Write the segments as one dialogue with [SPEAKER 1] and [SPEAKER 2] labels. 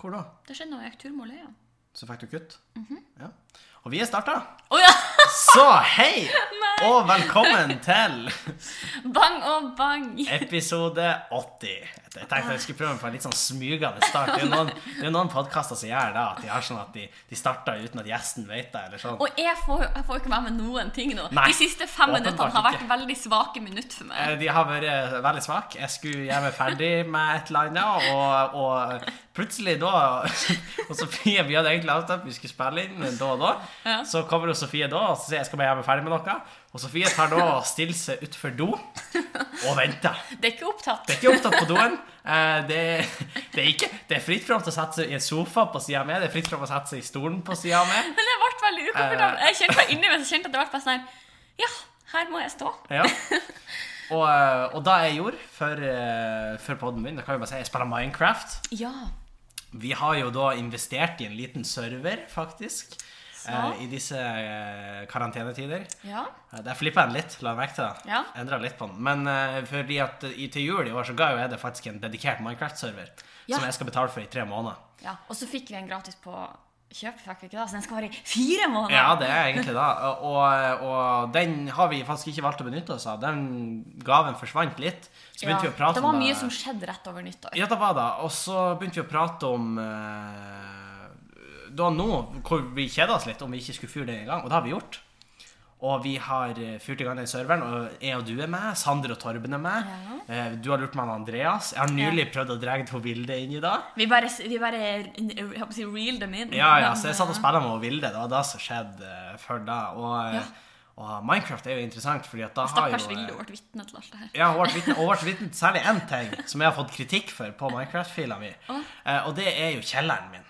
[SPEAKER 1] Hvor da?
[SPEAKER 2] Det skjedde når jeg gikk tur med Lea.
[SPEAKER 1] Så fikk du kutt? Ja. Og vi er starta!
[SPEAKER 2] Å ja!
[SPEAKER 1] Så hei, og velkommen til
[SPEAKER 2] Bang og bang!
[SPEAKER 1] episode 80. Jeg tenkte jeg skulle prøve på en litt sånn smygende start. Det er jo noen, det er noen podkaster som gjør det, at de har sånn at de, de starter uten at gjesten vet det. eller sånn.
[SPEAKER 2] Og jeg får, jeg får ikke være med noen ting nå.
[SPEAKER 1] Nei,
[SPEAKER 2] De siste fem
[SPEAKER 1] åpenbart
[SPEAKER 2] minuttene har vært
[SPEAKER 1] ikke.
[SPEAKER 2] veldig svake minutter for meg.
[SPEAKER 1] Eh, De har vært eh, veldig svake. Jeg skulle gjøre meg ferdig med et eller annet, og, og plutselig da Og Sofie, vi hadde egentlig avtalt at vi skulle spille inn men da og da.
[SPEAKER 2] Ja.
[SPEAKER 1] Så kommer jo Sofie da og så sier jeg skal bare gjøre meg ferdig med noe. Og Sofie tar da og stiller seg utfor do og venter.
[SPEAKER 2] Det er ikke opptatt.
[SPEAKER 1] Eh, Det er ikke opptatt på doen. Eh, Det, det er ikke Det er fritt fram til å sette seg i en sofa på sida mi, det er fritt fram å sette seg i stolen på sida mi.
[SPEAKER 2] Men jeg ble veldig ukomfortabel.
[SPEAKER 1] Eh.
[SPEAKER 2] Jeg kjente meg inni meg, så kjente jeg at det ble bare sånn her, Ja, her må jeg stå.
[SPEAKER 1] Ja. Og, eh, og da jeg gjorde for, eh, for podden min, da kan jeg bare si jeg spiller Minecraft.
[SPEAKER 2] Ja.
[SPEAKER 1] Vi har jo da investert i en liten server, faktisk,
[SPEAKER 2] Så.
[SPEAKER 1] eh, i disse eh, karantenetider.
[SPEAKER 2] Ja.
[SPEAKER 1] Eh, Der flippa jeg den litt, la jeg merke til.
[SPEAKER 2] Ja.
[SPEAKER 1] Endra litt på den. Men eh, fordi at i, til jul i år så ga jo jeg det faktisk en dedikert Minecraft-server,
[SPEAKER 2] Ja.
[SPEAKER 1] som jeg skal betale for i tre måneder.
[SPEAKER 2] ja. Og så fikk vi en gratis på kjøp, fikk vi ikke da? Så den skal vare i fire måneder.
[SPEAKER 1] Ja, det er egentlig det. Og, og den har vi faktisk ikke valgt å benytte oss av. Den gaven forsvant litt. Så begynte vi å prate
[SPEAKER 2] det var
[SPEAKER 1] om
[SPEAKER 2] mye som skjedde rett over nyttår.
[SPEAKER 1] Ja, det var det. Og så begynte vi å prate om eh, Da nå, hvor vi kjeda oss litt om vi ikke skulle fyre det i gang, og det har vi gjort. Og vi har eh, fyrt i gang den serveren, og jeg og du er med. Sander og Torben er med. Eh, Du har lurt meg om Andreas. Jeg har nylig prøvd å dra hun Vilde inn i det.
[SPEAKER 2] Vi bare, vi bare jeg håper å si, reel dem inn.
[SPEAKER 1] Ja, ja,
[SPEAKER 2] Men,
[SPEAKER 1] så jeg satt og spilte med Vilde. Det var det som skjedde eh, før det. Og, eh,
[SPEAKER 2] Ja.
[SPEAKER 1] og Minecraft er jo interessant, fordi at da har jo
[SPEAKER 2] Stakkars
[SPEAKER 1] eh,
[SPEAKER 2] Vilde ble vitne til alt det her.
[SPEAKER 1] Ja, hun ble vitne, hun ble vitne til særlig én ting som jeg har fått kritikk for på Minecraft-fila mi. Eh, og det er jo kjelleren min.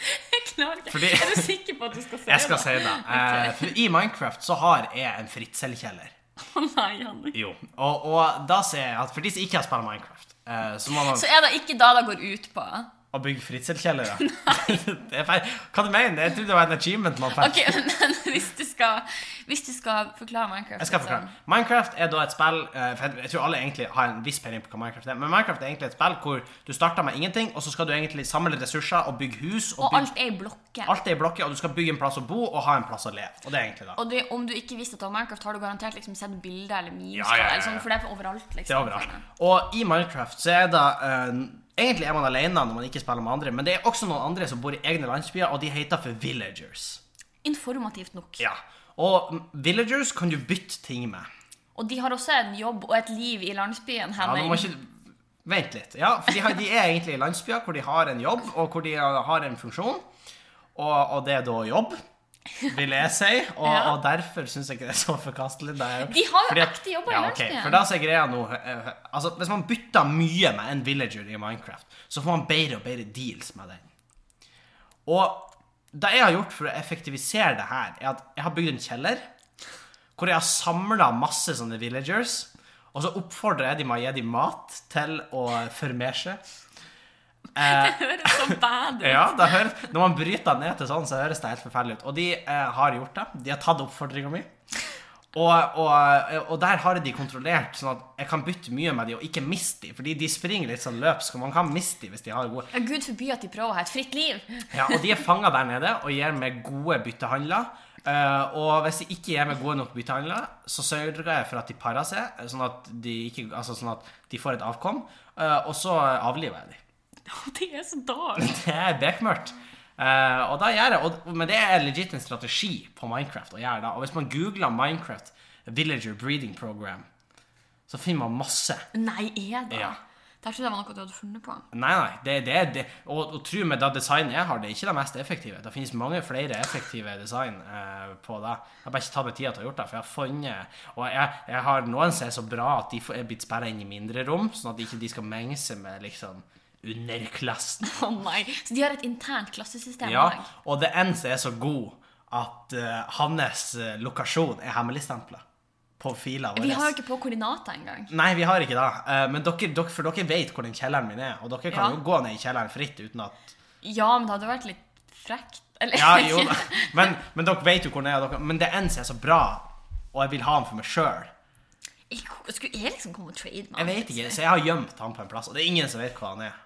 [SPEAKER 2] Jeg klarer ikke.
[SPEAKER 1] Fordi-
[SPEAKER 2] Er du sikker på at du skal si
[SPEAKER 1] Jeg skal
[SPEAKER 2] det?
[SPEAKER 1] si det. Eh, for I Minecraft så har jeg en fritselkjeller.
[SPEAKER 2] Å nei, Henrik.
[SPEAKER 1] Jo. Og, og da ser jeg at for de som ikke har spilt Minecraft, eh, så må man
[SPEAKER 2] Så er det ikke da det går ut på?
[SPEAKER 1] å bygge fritselkjellere. det er feil. Hva du mener du? Jeg trodde det var en achievement man fikk.
[SPEAKER 2] Ok, men hvis du skal, hvis du skal forklare Minecraft
[SPEAKER 1] Jeg skal
[SPEAKER 2] litt
[SPEAKER 1] forklare.
[SPEAKER 2] sånn.
[SPEAKER 1] Minecraft er da et spill eh, for Jeg jeg tror alle egentlig har en viss peiling på hva Minecraft er. Men Minecraft er egentlig et spill hvor du starter med ingenting, og så skal du egentlig samle ressurser og bygge hus. Og,
[SPEAKER 2] Og
[SPEAKER 1] bygge,
[SPEAKER 2] alt er i blokker.
[SPEAKER 1] alt er i blokker, og du skal bygge en plass å bo og ha en plass å leve. Og det er egentlig det.
[SPEAKER 2] Og det, om du ikke visste at det var Minecraft, har du garantert liksom sett bilder eller memes.
[SPEAKER 1] Ja, ja, ja, ja.
[SPEAKER 2] Eller sånn, for det er overalt. liksom.
[SPEAKER 1] Det er overalt. Og i Minecraft så er det eh, Egentlig er man alene når man ikke spiller med andre, men det er også noen andre som bor i egne landsbyer, og de heter for villagers.
[SPEAKER 2] Informativt nok.
[SPEAKER 1] Ja. Og mm, villagers kan du bytte ting med.
[SPEAKER 2] Og de har også en jobb og et liv i landsbyen.
[SPEAKER 1] Ja, nå
[SPEAKER 2] Henning.
[SPEAKER 1] må ikke Vent litt. Ja, for de, har, de er egentlig i landsbyer hvor de har en jobb, og hvor de har en funksjon. Og, og det er da jobb, vil jeg si. Og,
[SPEAKER 2] Ja.
[SPEAKER 1] og derfor syns jeg ikke det er så forkastelig. Det er jo-
[SPEAKER 2] De har jo
[SPEAKER 1] fordi at-
[SPEAKER 2] ekte jobber i
[SPEAKER 1] ja, ok,
[SPEAKER 2] landsbyen.
[SPEAKER 1] For da så er greia nå eh, Altså, Hvis man bytter mye med en villager i Minecraft, så får man bedre og bedre deals med den. Og det jeg har gjort for å effektivisere det her, er at jeg har bygd en kjeller hvor jeg har samla masse sånne villagers. Og så oppfordrer jeg dem med å gi dem mat til å formere seg.
[SPEAKER 2] Det høres så bad ut.
[SPEAKER 1] Ja, det høres, Når man bryter det ned til sånn, så høres det helt forferdelig ut. Og de eh, har gjort det. De har tatt oppfordringa mi. Og, og, og der har jeg de kontrollert, sånn at jeg kan bytte mye med de og ikke miste de. Fordi de springer litt sånn løpsk, og man kan miste de hvis de har gode
[SPEAKER 2] Ja, Gud forby at de prøver å ha et fritt liv.
[SPEAKER 1] Ja, og de er fanga der nede og gir meg gode byttehandler. Eh, og hvis de ikke gir meg gode nok byttehandler, så sørger jeg for at de parer seg, sånn at de, ikke, altså sånn at de får et avkom, eh, og så avliver jeg dem.
[SPEAKER 2] Å, Det er så dårlig.
[SPEAKER 1] Det er bekmørkt. Eh, og da gjør jeg, og, men det er legit en strategi på Minecraft å gjøre det. Og hvis man googler Minecraft Villager Breeding Program, så finner man masse.
[SPEAKER 2] Nei, er det?
[SPEAKER 1] Ja.
[SPEAKER 2] Der trodde jeg var noe du hadde funnet på.
[SPEAKER 1] Nei, nei, det, det, det og, og tro meg, det designet jeg har, det er ikke det mest effektive. Det finnes mange flere effektive design eh, på det. Jeg har bare ikke tatt meg tida til å gjøre det, for jeg har funnet Og jeg, jeg har noen som er så bra at de får- er blitt sperra inn i mindre rom, sånn at de ikke de skal menge seg med liksom underklassen.
[SPEAKER 2] Å nei, Så de har et internt klassesystem?
[SPEAKER 1] Ja,
[SPEAKER 2] i dag.
[SPEAKER 1] og det er en som er så god at eh, hans eh, lokasjon er hemmeligstempla på fila vår.
[SPEAKER 2] Vi har jo ikke på koordinater engang.
[SPEAKER 1] Nei, vi har ikke det. Eh, men dere, dere, for dere vet hvor den kjelleren min er, og dere kan
[SPEAKER 2] Ja.
[SPEAKER 1] jo gå ned i kjelleren fritt uten at
[SPEAKER 2] Ja, men det hadde vært litt frekt. Eller
[SPEAKER 1] Ja, jo, men, men dere vet jo hvor den er. og Dere, men det er en som er så bra, og jeg vil ha den for meg sjøl.
[SPEAKER 2] Jeg- Skulle jeg liksom komme og trade med
[SPEAKER 1] Jeg
[SPEAKER 2] han?
[SPEAKER 1] vet ikke, så jeg har gjemt han på en plass, og det er ingen som vet hvor han er.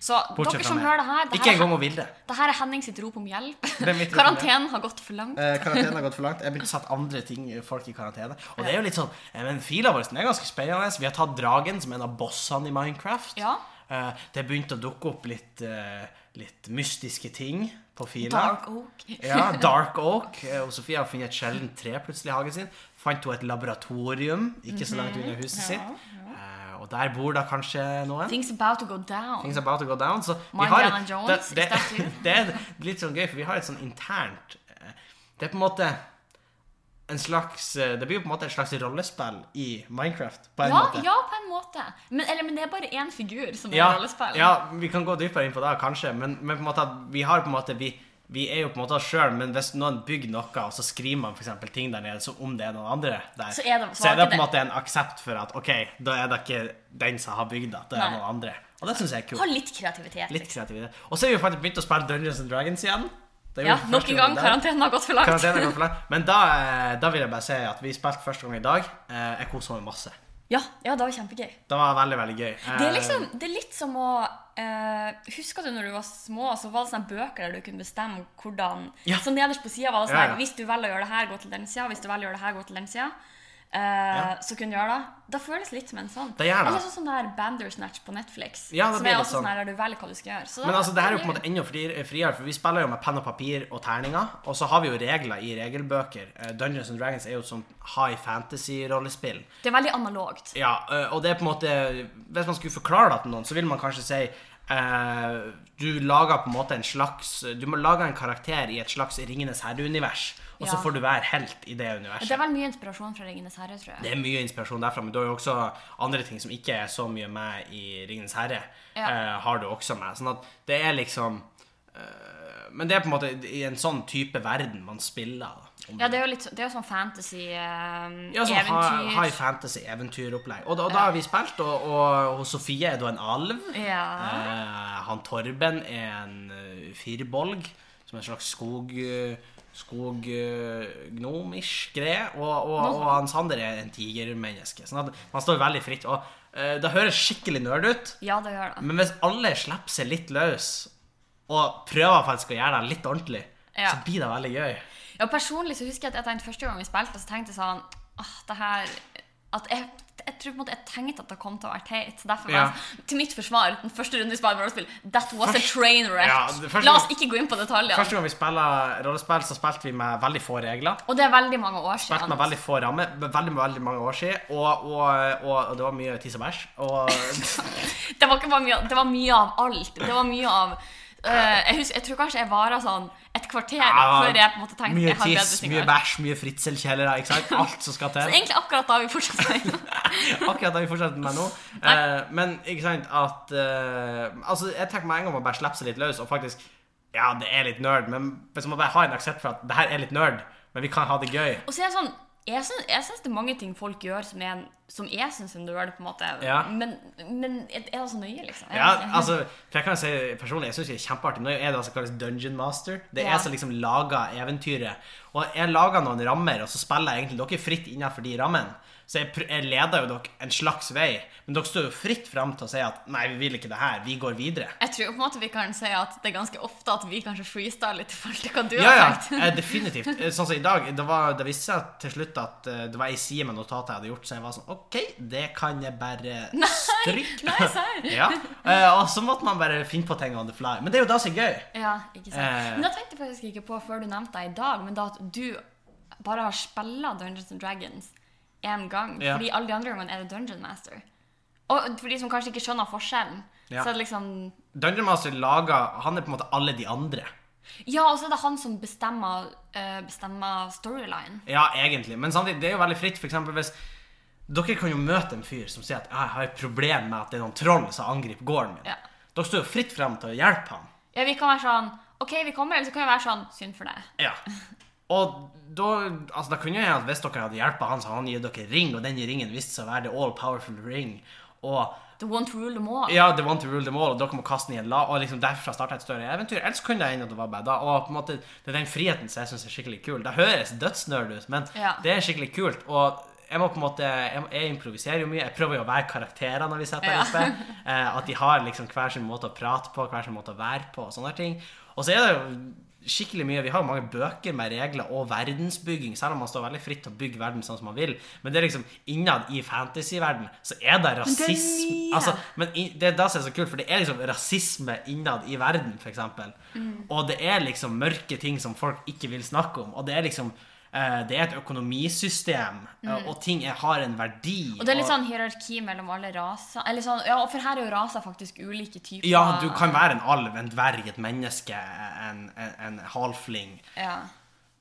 [SPEAKER 2] Så
[SPEAKER 1] Bortsett
[SPEAKER 2] dere
[SPEAKER 1] fra
[SPEAKER 2] som
[SPEAKER 1] meg.
[SPEAKER 2] hører det her, det
[SPEAKER 1] Ikke
[SPEAKER 2] her,
[SPEAKER 1] engang hun ville.
[SPEAKER 2] det her er Henning sitt rop om hjelp.
[SPEAKER 1] er mitt rop om
[SPEAKER 2] Karantenen har gått for langt.
[SPEAKER 1] Eh, karantene har gått for langt. Jeg begynte å sette andre ting, folk i karantene. Og det er jo litt sånn eh, Men fila vår den er ganske spennende. Vi har tatt dragen som en av bossene i Minecraft.
[SPEAKER 2] Ja.
[SPEAKER 1] Eh, det begynte å dukke opp litt, eh, litt mystiske ting på fila.
[SPEAKER 2] Dark Oak.
[SPEAKER 1] Ja, Dark Oak. Eh, Og Sofie har funnet et sjeldent tre plutselig i hagen sin. Fant hun et laboratorium ikke så langt unna huset sitt. Eh, Og der bor da kanskje noen.
[SPEAKER 2] Things about to go down.
[SPEAKER 1] Things about to go down. Så vi
[SPEAKER 2] Mind
[SPEAKER 1] har
[SPEAKER 2] Alan
[SPEAKER 1] et,
[SPEAKER 2] Jones,
[SPEAKER 1] det,
[SPEAKER 2] is that
[SPEAKER 1] det,
[SPEAKER 2] you?
[SPEAKER 1] det er litt sånn gøy, for vi har et sånn internt eh, Det er på en måte en slags eh, Det blir jo på en måte et slags rollespill i Minecraft, på en
[SPEAKER 2] ja,
[SPEAKER 1] måte.
[SPEAKER 2] ja, på en måte. Men, eller, men det er bare én figur som er
[SPEAKER 1] Ja,
[SPEAKER 2] rollespill.
[SPEAKER 1] ja, vi kan gå dypere inn på det, kanskje, men, men på en måte, vi har på en måte vi, vi er jo på en måte oss sjøl, men hvis noen bygger noe, og så skriver man for eksempel ting der nede, så om det er noen andre der,
[SPEAKER 2] Så er det
[SPEAKER 1] så er det
[SPEAKER 2] svake
[SPEAKER 1] på en måte en aksept for at OK, da er det ikke den som har bygd det, det er
[SPEAKER 2] Nei.
[SPEAKER 1] noen andre. Og det syns jeg er kult.
[SPEAKER 2] Ha litt kreativitet.
[SPEAKER 1] Litt
[SPEAKER 2] liksom.
[SPEAKER 1] kreativitet. Og så har vi jo faktisk begynt å spille Dungeons and Dragons igjen. Det er jo
[SPEAKER 2] Ja,
[SPEAKER 1] første
[SPEAKER 2] Nok en gang,
[SPEAKER 1] i dag.
[SPEAKER 2] karantenen har gått for langt.
[SPEAKER 1] Karantene går for langt. Men da, eh, da vil jeg bare si at vi spilte første gang i dag. Eh, Jeg kosa meg masse.
[SPEAKER 2] Ja, ja, det var kjempegøy.
[SPEAKER 1] Det var veldig, veldig gøy. Eh,
[SPEAKER 2] Det er, liksom, det er litt som å eh, Husker du når du var små, så var det sånne bøker der du kunne bestemme hvordan
[SPEAKER 1] Ja.
[SPEAKER 2] Så nederst på sida var det sånn
[SPEAKER 1] Ja,
[SPEAKER 2] her,
[SPEAKER 1] ja.
[SPEAKER 2] Hvis du velger å gjøre det her, gå til den sida. Hvis du velger å gjøre det her, gå til den sida. Eh, Så kunne du gjøre det. Da føles litt som en sånn.
[SPEAKER 1] Det gjør det.
[SPEAKER 2] Eller sånn som det her Bandersnatch på Netflix.
[SPEAKER 1] Ja, det
[SPEAKER 2] som
[SPEAKER 1] blir
[SPEAKER 2] er
[SPEAKER 1] litt
[SPEAKER 2] også
[SPEAKER 1] sånn.
[SPEAKER 2] sånn her der du velger hva du skal gjøre. Så
[SPEAKER 1] Men
[SPEAKER 2] da-
[SPEAKER 1] altså, det her er jo på en
[SPEAKER 2] det
[SPEAKER 1] måte enda fri- friere, for vi spiller jo med penn og papir og terninger. Og så har vi jo regler i regelbøker. Eh, Dungeons and Dragons er jo et sånt high fantasy-rollespill.
[SPEAKER 2] gøy. Det er veldig analogt.
[SPEAKER 1] Ja, eh, og det er på en måte Hvis man skulle forklare det til noen, så vil man kanskje si eh, Du lager på en måte en slags Du må lage en karakter i et slags Ringenes herre-univers, og så
[SPEAKER 2] Ja.
[SPEAKER 1] får du være helt i det
[SPEAKER 2] Det
[SPEAKER 1] universet.
[SPEAKER 2] er vel mye inspirasjon fra Ringenes herre, tror jeg.
[SPEAKER 1] Det er mye inspirasjon derfra, men du har jo også andre ting som ikke er så mye med i Ringenes herre.
[SPEAKER 2] Ja.
[SPEAKER 1] eh, har du også med. Sånn at det er liksom eh, Men det er på en måte i en sånn type verden man spiller. Da, om
[SPEAKER 2] Ja, det er jo litt så- det er jo sånn fantasy, eh,
[SPEAKER 1] Ja, sånn
[SPEAKER 2] eventyr
[SPEAKER 1] high, high fantasy, eventyropplegg. Og, da- og da har vi spilt, og, og, og Sofie er da en alv.
[SPEAKER 2] Ja.
[SPEAKER 1] Eh, han Torben er en eh, firbolg, som er en slags skog... eh, skog eh, gnomish greie. Og, og, og han Sander er en tigermenneske. Sånn at man står veldig fritt. Og eh, det høres skikkelig nerd ut,
[SPEAKER 2] ja, det gjør det.
[SPEAKER 1] men hvis alle slipper seg litt løs, og prøver faktisk å gjøre det litt ordentlig,
[SPEAKER 2] Ja.
[SPEAKER 1] så blir det veldig gøy.
[SPEAKER 2] Ja, personlig så husker jeg at jeg tenkte første gang vi spilte, så tenkte jeg sånn Åh, det her At jeg, jeg tror på en måte jeg tenkte at det kom til å være teit. Så derfor var
[SPEAKER 1] Ja.
[SPEAKER 2] jeg sånn, Til mitt forsvar, den første runden vi spilte rollespill, that was a
[SPEAKER 1] Først-
[SPEAKER 2] train wreck.
[SPEAKER 1] Ja, det første-
[SPEAKER 2] La oss ikke gå inn på detaljene.
[SPEAKER 1] Første gang vi spilte rollespill, så spilte vi med veldig få regler.
[SPEAKER 2] Og det er veldig mange år
[SPEAKER 1] spilt
[SPEAKER 2] siden.
[SPEAKER 1] med veldig få rammer, med veldig, veldig mange år siden, og, og, og, og det var mye tiss og bæsj. Og
[SPEAKER 2] Det var, ikke bare mye, det var mye av alt. Det var mye av eh, jeg, husker, jeg tror kanskje jeg vara sånn et kvarter
[SPEAKER 1] Ja,
[SPEAKER 2] før jeg på en måte tenkte
[SPEAKER 1] mye
[SPEAKER 2] jeg har bedre
[SPEAKER 1] tiss,
[SPEAKER 2] ting å
[SPEAKER 1] mye
[SPEAKER 2] gjøre.
[SPEAKER 1] bæsj, mye fritselkjelere, ikke sant? Alt som skal til.
[SPEAKER 2] Egentlig akkurat da vi fortsatt spilte.
[SPEAKER 1] Akkurat det vi fortsetter med nå. Eh, men ikke sant at eh, Altså, jeg tenker meg en gang å bare slippe seg litt løs, og faktisk Ja, det er litt nerd, men hvis man bare har en aksept for at det her er litt nerd, men vi kan ha det gøy
[SPEAKER 2] Og så er det sånn jeg syns, jeg syns det er mange ting folk gjør som, er, som jeg syns er nerd, på en måte.
[SPEAKER 1] Ja.
[SPEAKER 2] Men, men er er det så nøye, liksom?
[SPEAKER 1] Ja, altså, for jeg kan jo si personlig, jeg synes det er kjempeartig. Nå er det altså kalles Dungeon Master. Det er
[SPEAKER 2] Ja.
[SPEAKER 1] jeg som liksom lager eventyret. Og jeg lager noen rammer, og så spiller jeg egentlig dere fritt innenfor de rammene. Så jeg, pr- jeg leder jo dere en slags vei, men dere står jo fritt frem til å si at nei, vi vil ikke det her, vi går videre.
[SPEAKER 2] Jeg tror jo på en måte vi kan si at det er ganske ofte at vi kanskje freestyler litt i forhold til hva du
[SPEAKER 1] Ja, ja,
[SPEAKER 2] har tenkt.
[SPEAKER 1] eh, definitivt. Eh, Sånn som i dag, det, var, det viste seg til slutt at eh, det var ei side med notatet jeg hadde gjort, så jeg var sånn OK, det kan jeg bare stryke.
[SPEAKER 2] Nei, serr?
[SPEAKER 1] ja. eh, Og så måtte man bare finne på ting on the fly. Men det er jo da som er gøy.
[SPEAKER 2] Ja, ikke sant.
[SPEAKER 1] Eh.
[SPEAKER 2] Men da tenkte jeg faktisk ikke på før du nevnte det i dag, men da at du bare har spilla Dungeons and Dragons én gang.
[SPEAKER 1] Ja.
[SPEAKER 2] Fordi alle de andre gangene er det Dungeon Master. Og for de som kanskje ikke skjønner forskjellen,
[SPEAKER 1] Ja.
[SPEAKER 2] så er det liksom
[SPEAKER 1] Dungeon Master lager Han er på en måte alle de andre.
[SPEAKER 2] Ja, og så er det han som bestemmer, eh, bestemmer storyline.
[SPEAKER 1] Ja, egentlig. Men samtidig, det er jo veldig fritt. For eksempel hvis Dere kan jo møte en fyr som sier at «Ah, 'Jeg har et problem med at det er noen troll som angriper gården min'.
[SPEAKER 2] Ja.
[SPEAKER 1] Dere står jo fritt frem til å hjelpe ham.
[SPEAKER 2] Ja, vi kan være sånn OK, vi kommer, eller så kan vi være sånn Synd for deg.
[SPEAKER 1] Ja. Og da Altså, da kunne jo hende at hvis dere hadde hjulpet han, så hadde han gitt dere ring, og den ringen viste seg å være the all powerful ring. Og
[SPEAKER 2] The one to rule them all.
[SPEAKER 1] Ja, the one to rule them all, og dere må kaste den i en la, og liksom derfra starte et større eventyr. Ellers kunne det ende at det var bare da. Og på en måte, det er den friheten som jeg syns er skikkelig kul. Det høres dødsnerd ut, men
[SPEAKER 2] Ja.
[SPEAKER 1] det er skikkelig kult. Og jeg må på en måte jeg, jeg improviserer jo mye. Jeg prøver jo å være karakterer når vi sitter
[SPEAKER 2] Ja.
[SPEAKER 1] her oppe. Eh, at de har liksom hver sin måte å prate på, hver sin måte å være på og sånne ting. Og så er det jo skikkelig mye Vi har jo mange bøker med regler og verdensbygging, selv om man står veldig fritt til å bygge verden sånn som man vil. Men det er liksom innad i fantasyverden så er det rasisme
[SPEAKER 2] mye.
[SPEAKER 1] altså, Men i- det er da som er så kult, for det er liksom rasisme innad i verden, f.eks.
[SPEAKER 2] Mm.
[SPEAKER 1] Og det er liksom mørke ting som folk ikke vil snakke om. Og det er liksom eh, det er et økonomisystem, eh, og ting er, har en verdi.
[SPEAKER 2] Mm. Og det er litt sånn hierarki mellom alle raser. Eller sånn, ja, for her er jo raser faktisk ulike typer.
[SPEAKER 1] Ja, du kan være en alv, en dverg, et menneske, en, en, en halfling.
[SPEAKER 2] Ja.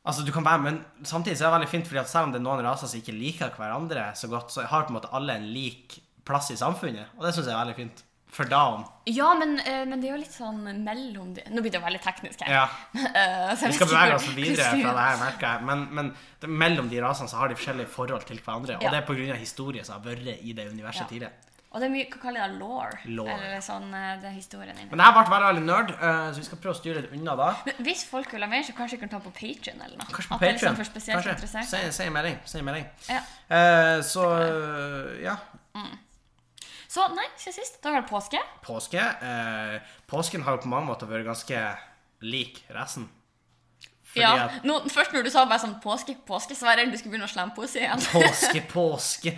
[SPEAKER 1] Altså, du kan være, Men samtidig så er det veldig fint, fordi at selv om det er noen raser som ikke liker hverandre så godt, så har på en måte alle en lik plass i samfunnet, og det syns jeg er veldig fint. For da om.
[SPEAKER 2] Ja, men, eh, men det er jo litt sånn mellom de Nå blir det jo veldig teknisk her.
[SPEAKER 1] Ja.
[SPEAKER 2] Eh, så jeg
[SPEAKER 1] Vi
[SPEAKER 2] vet
[SPEAKER 1] skal
[SPEAKER 2] ikke
[SPEAKER 1] bevege oss
[SPEAKER 2] hvor-
[SPEAKER 1] videre
[SPEAKER 2] hvordan-
[SPEAKER 1] fra det her, merker jeg. Men, men det, mellom de rasene så har de forskjellige forhold til hverandre, og
[SPEAKER 2] Ja.
[SPEAKER 1] det er pga. historie som har vært i det universet
[SPEAKER 2] Ja.
[SPEAKER 1] tidligere.
[SPEAKER 2] Og det er mye, hva kaller de det? Law?
[SPEAKER 1] Lore.
[SPEAKER 2] Eller sånn, eh, det er historien din.
[SPEAKER 1] Men det her ble veldig veldig nerd, eh, så vi skal prøve å styre det unna da.
[SPEAKER 2] Men Hvis folk vil ha mer, så kanskje vi kan ta på Patreon eller noe.
[SPEAKER 1] Kanskje på
[SPEAKER 2] At det er liksom
[SPEAKER 1] Patreon.
[SPEAKER 2] for spesielt
[SPEAKER 1] Kanskje.
[SPEAKER 2] interessert.
[SPEAKER 1] Si si en melding. Si en melding.
[SPEAKER 2] Ja.
[SPEAKER 1] Eh, så eh, ja.
[SPEAKER 2] Så nei, siden sist. Da var det påske.
[SPEAKER 1] Påske. Eh, påsken har jo på mange måter vært ganske lik resten. Fordi
[SPEAKER 2] ja.
[SPEAKER 1] at
[SPEAKER 2] Nå, først når du sa bare sånn påske, påske, så var jeg redd du skulle begynne å slemme poesi igjen.
[SPEAKER 1] påske, påske,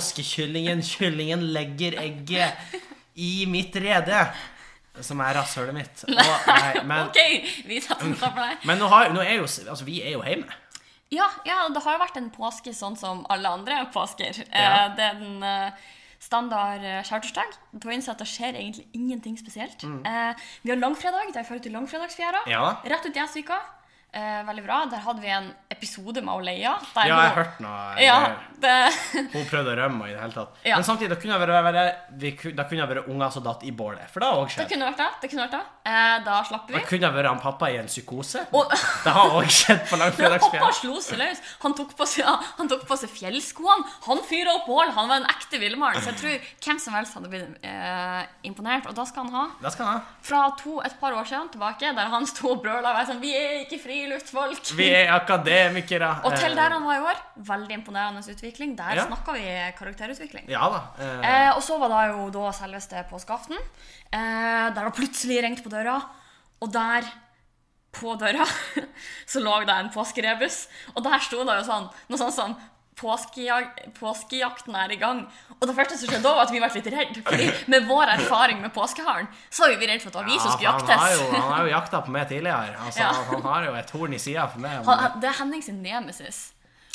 [SPEAKER 1] påskekyllingen, kyllingen legger egget i mitt rede. Som er rasshølet mitt. Og, nei, men,
[SPEAKER 2] ok, vi setter den for deg.
[SPEAKER 1] men nå, har, nå er jo Altså, vi er jo hjemme.
[SPEAKER 2] Ja, ja, det har jo vært en påske sånn som alle andre påsker.
[SPEAKER 1] Ja.
[SPEAKER 2] Eh, det er den eh, standard eh, skjærtorsdag. På innsett det skjer egentlig ingenting spesielt. Eh, vi har langfredag, der fører til langfredagsfjæra.
[SPEAKER 1] Mm. Ja.
[SPEAKER 2] Rett ut i Gjelsvika. Eh, veldig bra. Der hadde vi en episode med Oleia. der
[SPEAKER 1] Ja, jeg
[SPEAKER 2] hun-
[SPEAKER 1] hørte noe. eh,
[SPEAKER 2] Ja, det...
[SPEAKER 1] Hun prøvde å rømme og i det hele tatt.
[SPEAKER 2] Ja.
[SPEAKER 1] Men samtidig, da kunne det være, være, vi ku- da kunne det være unger som datt i bålet. For det har òg
[SPEAKER 2] det
[SPEAKER 1] skjedd.
[SPEAKER 2] kunne vært det. det kunne vært det. Eh, da slapp vi.
[SPEAKER 1] Det kunne det være han pappa i en psykose.
[SPEAKER 2] Og
[SPEAKER 1] Det har òg skjedd på
[SPEAKER 2] pappa
[SPEAKER 1] langfredagsfjell.
[SPEAKER 2] slo seg løs. Han tok på seg, han tok på seg fjellskoene. Han fyra opp bål. Han var en ekte villmann. Så jeg tror hvem som helst hadde blitt eh, imponert. Og da skal han ha
[SPEAKER 1] Det skal han ha.
[SPEAKER 2] fra to et par år siden tilbake, der han sto og brøla og var sånn Vi er ikke friluftfolk.
[SPEAKER 1] Vi er akademikere.
[SPEAKER 2] Og til
[SPEAKER 1] Eh,
[SPEAKER 2] der han var i år, veldig imponerende utvikling. Der
[SPEAKER 1] Ja.
[SPEAKER 2] snakka vi karakterutvikling.
[SPEAKER 1] Ja da. eh,
[SPEAKER 2] Eh, og så var det jo da selveste påskeaften. Eh, der var plutselig ringt på døra, og der på døra så lå det en påskerebus. Og der sto det jo sånn noe sånn som påskejag Påskejakten er i gang. Og det første som skjedde da, var at vi ble litt redde. Fordi med vår erfaring med påskeharen, så var vi redde for at det var vi som skulle
[SPEAKER 1] Ja, for Han har, jo,
[SPEAKER 2] jaktes.
[SPEAKER 1] han har jo jakta på meg tidligere. Altså,
[SPEAKER 2] Ja.
[SPEAKER 1] Han har jo et horn i sida for meg.
[SPEAKER 2] Han, han- eh, det er Henning sin nemesis.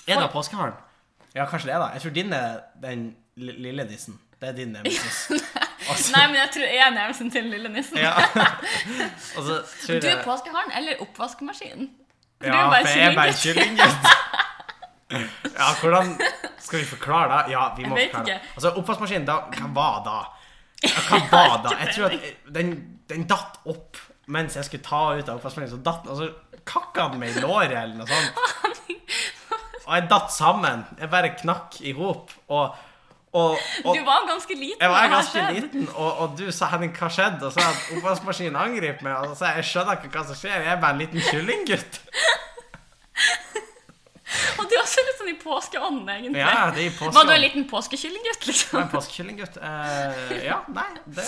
[SPEAKER 1] er det påskeharen? Ja, kanskje det, da. Jeg tror din er den li- lille dissen. Det er din nemesis. Altså,
[SPEAKER 2] Nei, men jeg tror jeg er nemesen til lille nissen.
[SPEAKER 1] ja. altså, tror
[SPEAKER 2] Du er
[SPEAKER 1] jeg-
[SPEAKER 2] påskeharen eller oppvaskmaskinen. For
[SPEAKER 1] Ja,
[SPEAKER 2] du er
[SPEAKER 1] for jeg er
[SPEAKER 2] bare
[SPEAKER 1] bare
[SPEAKER 2] kyllinggutt.
[SPEAKER 1] kyllinggutt. Ja, hvordan skal vi forklare det? Ja, vi må
[SPEAKER 2] Jeg vet
[SPEAKER 1] forklare det.
[SPEAKER 2] ikke.
[SPEAKER 1] Altså, oppvaskmaskinen, da, hva var da? Ja, Hva var da? Jeg tror at den, den datt opp mens jeg skulle ta ut av oppvaskmaskinen, så datt den, og så kakka den meg i låret eller noe sånt. Og jeg datt sammen. Jeg bare knakk i hop. Og, og, og
[SPEAKER 2] Du var ganske liten.
[SPEAKER 1] jeg
[SPEAKER 2] når
[SPEAKER 1] var
[SPEAKER 2] det her
[SPEAKER 1] ganske
[SPEAKER 2] skjedde.
[SPEAKER 1] liten, og, og du sa 'Henning, hva skjedde?' Og så sa jeg at oppvaskmaskinen angrep meg. Og så sa jeg 'Jeg skjønner ikke hva som skjer, jeg er bare en liten kyllinggutt'.
[SPEAKER 2] Og du har også litt sånn i påskeånden, egentlig.
[SPEAKER 1] Ja, det er i påsken.
[SPEAKER 2] Var du en liten påskekyllinggutt, liksom?
[SPEAKER 1] En påskekyllinggutt. Eh, ja, nei, det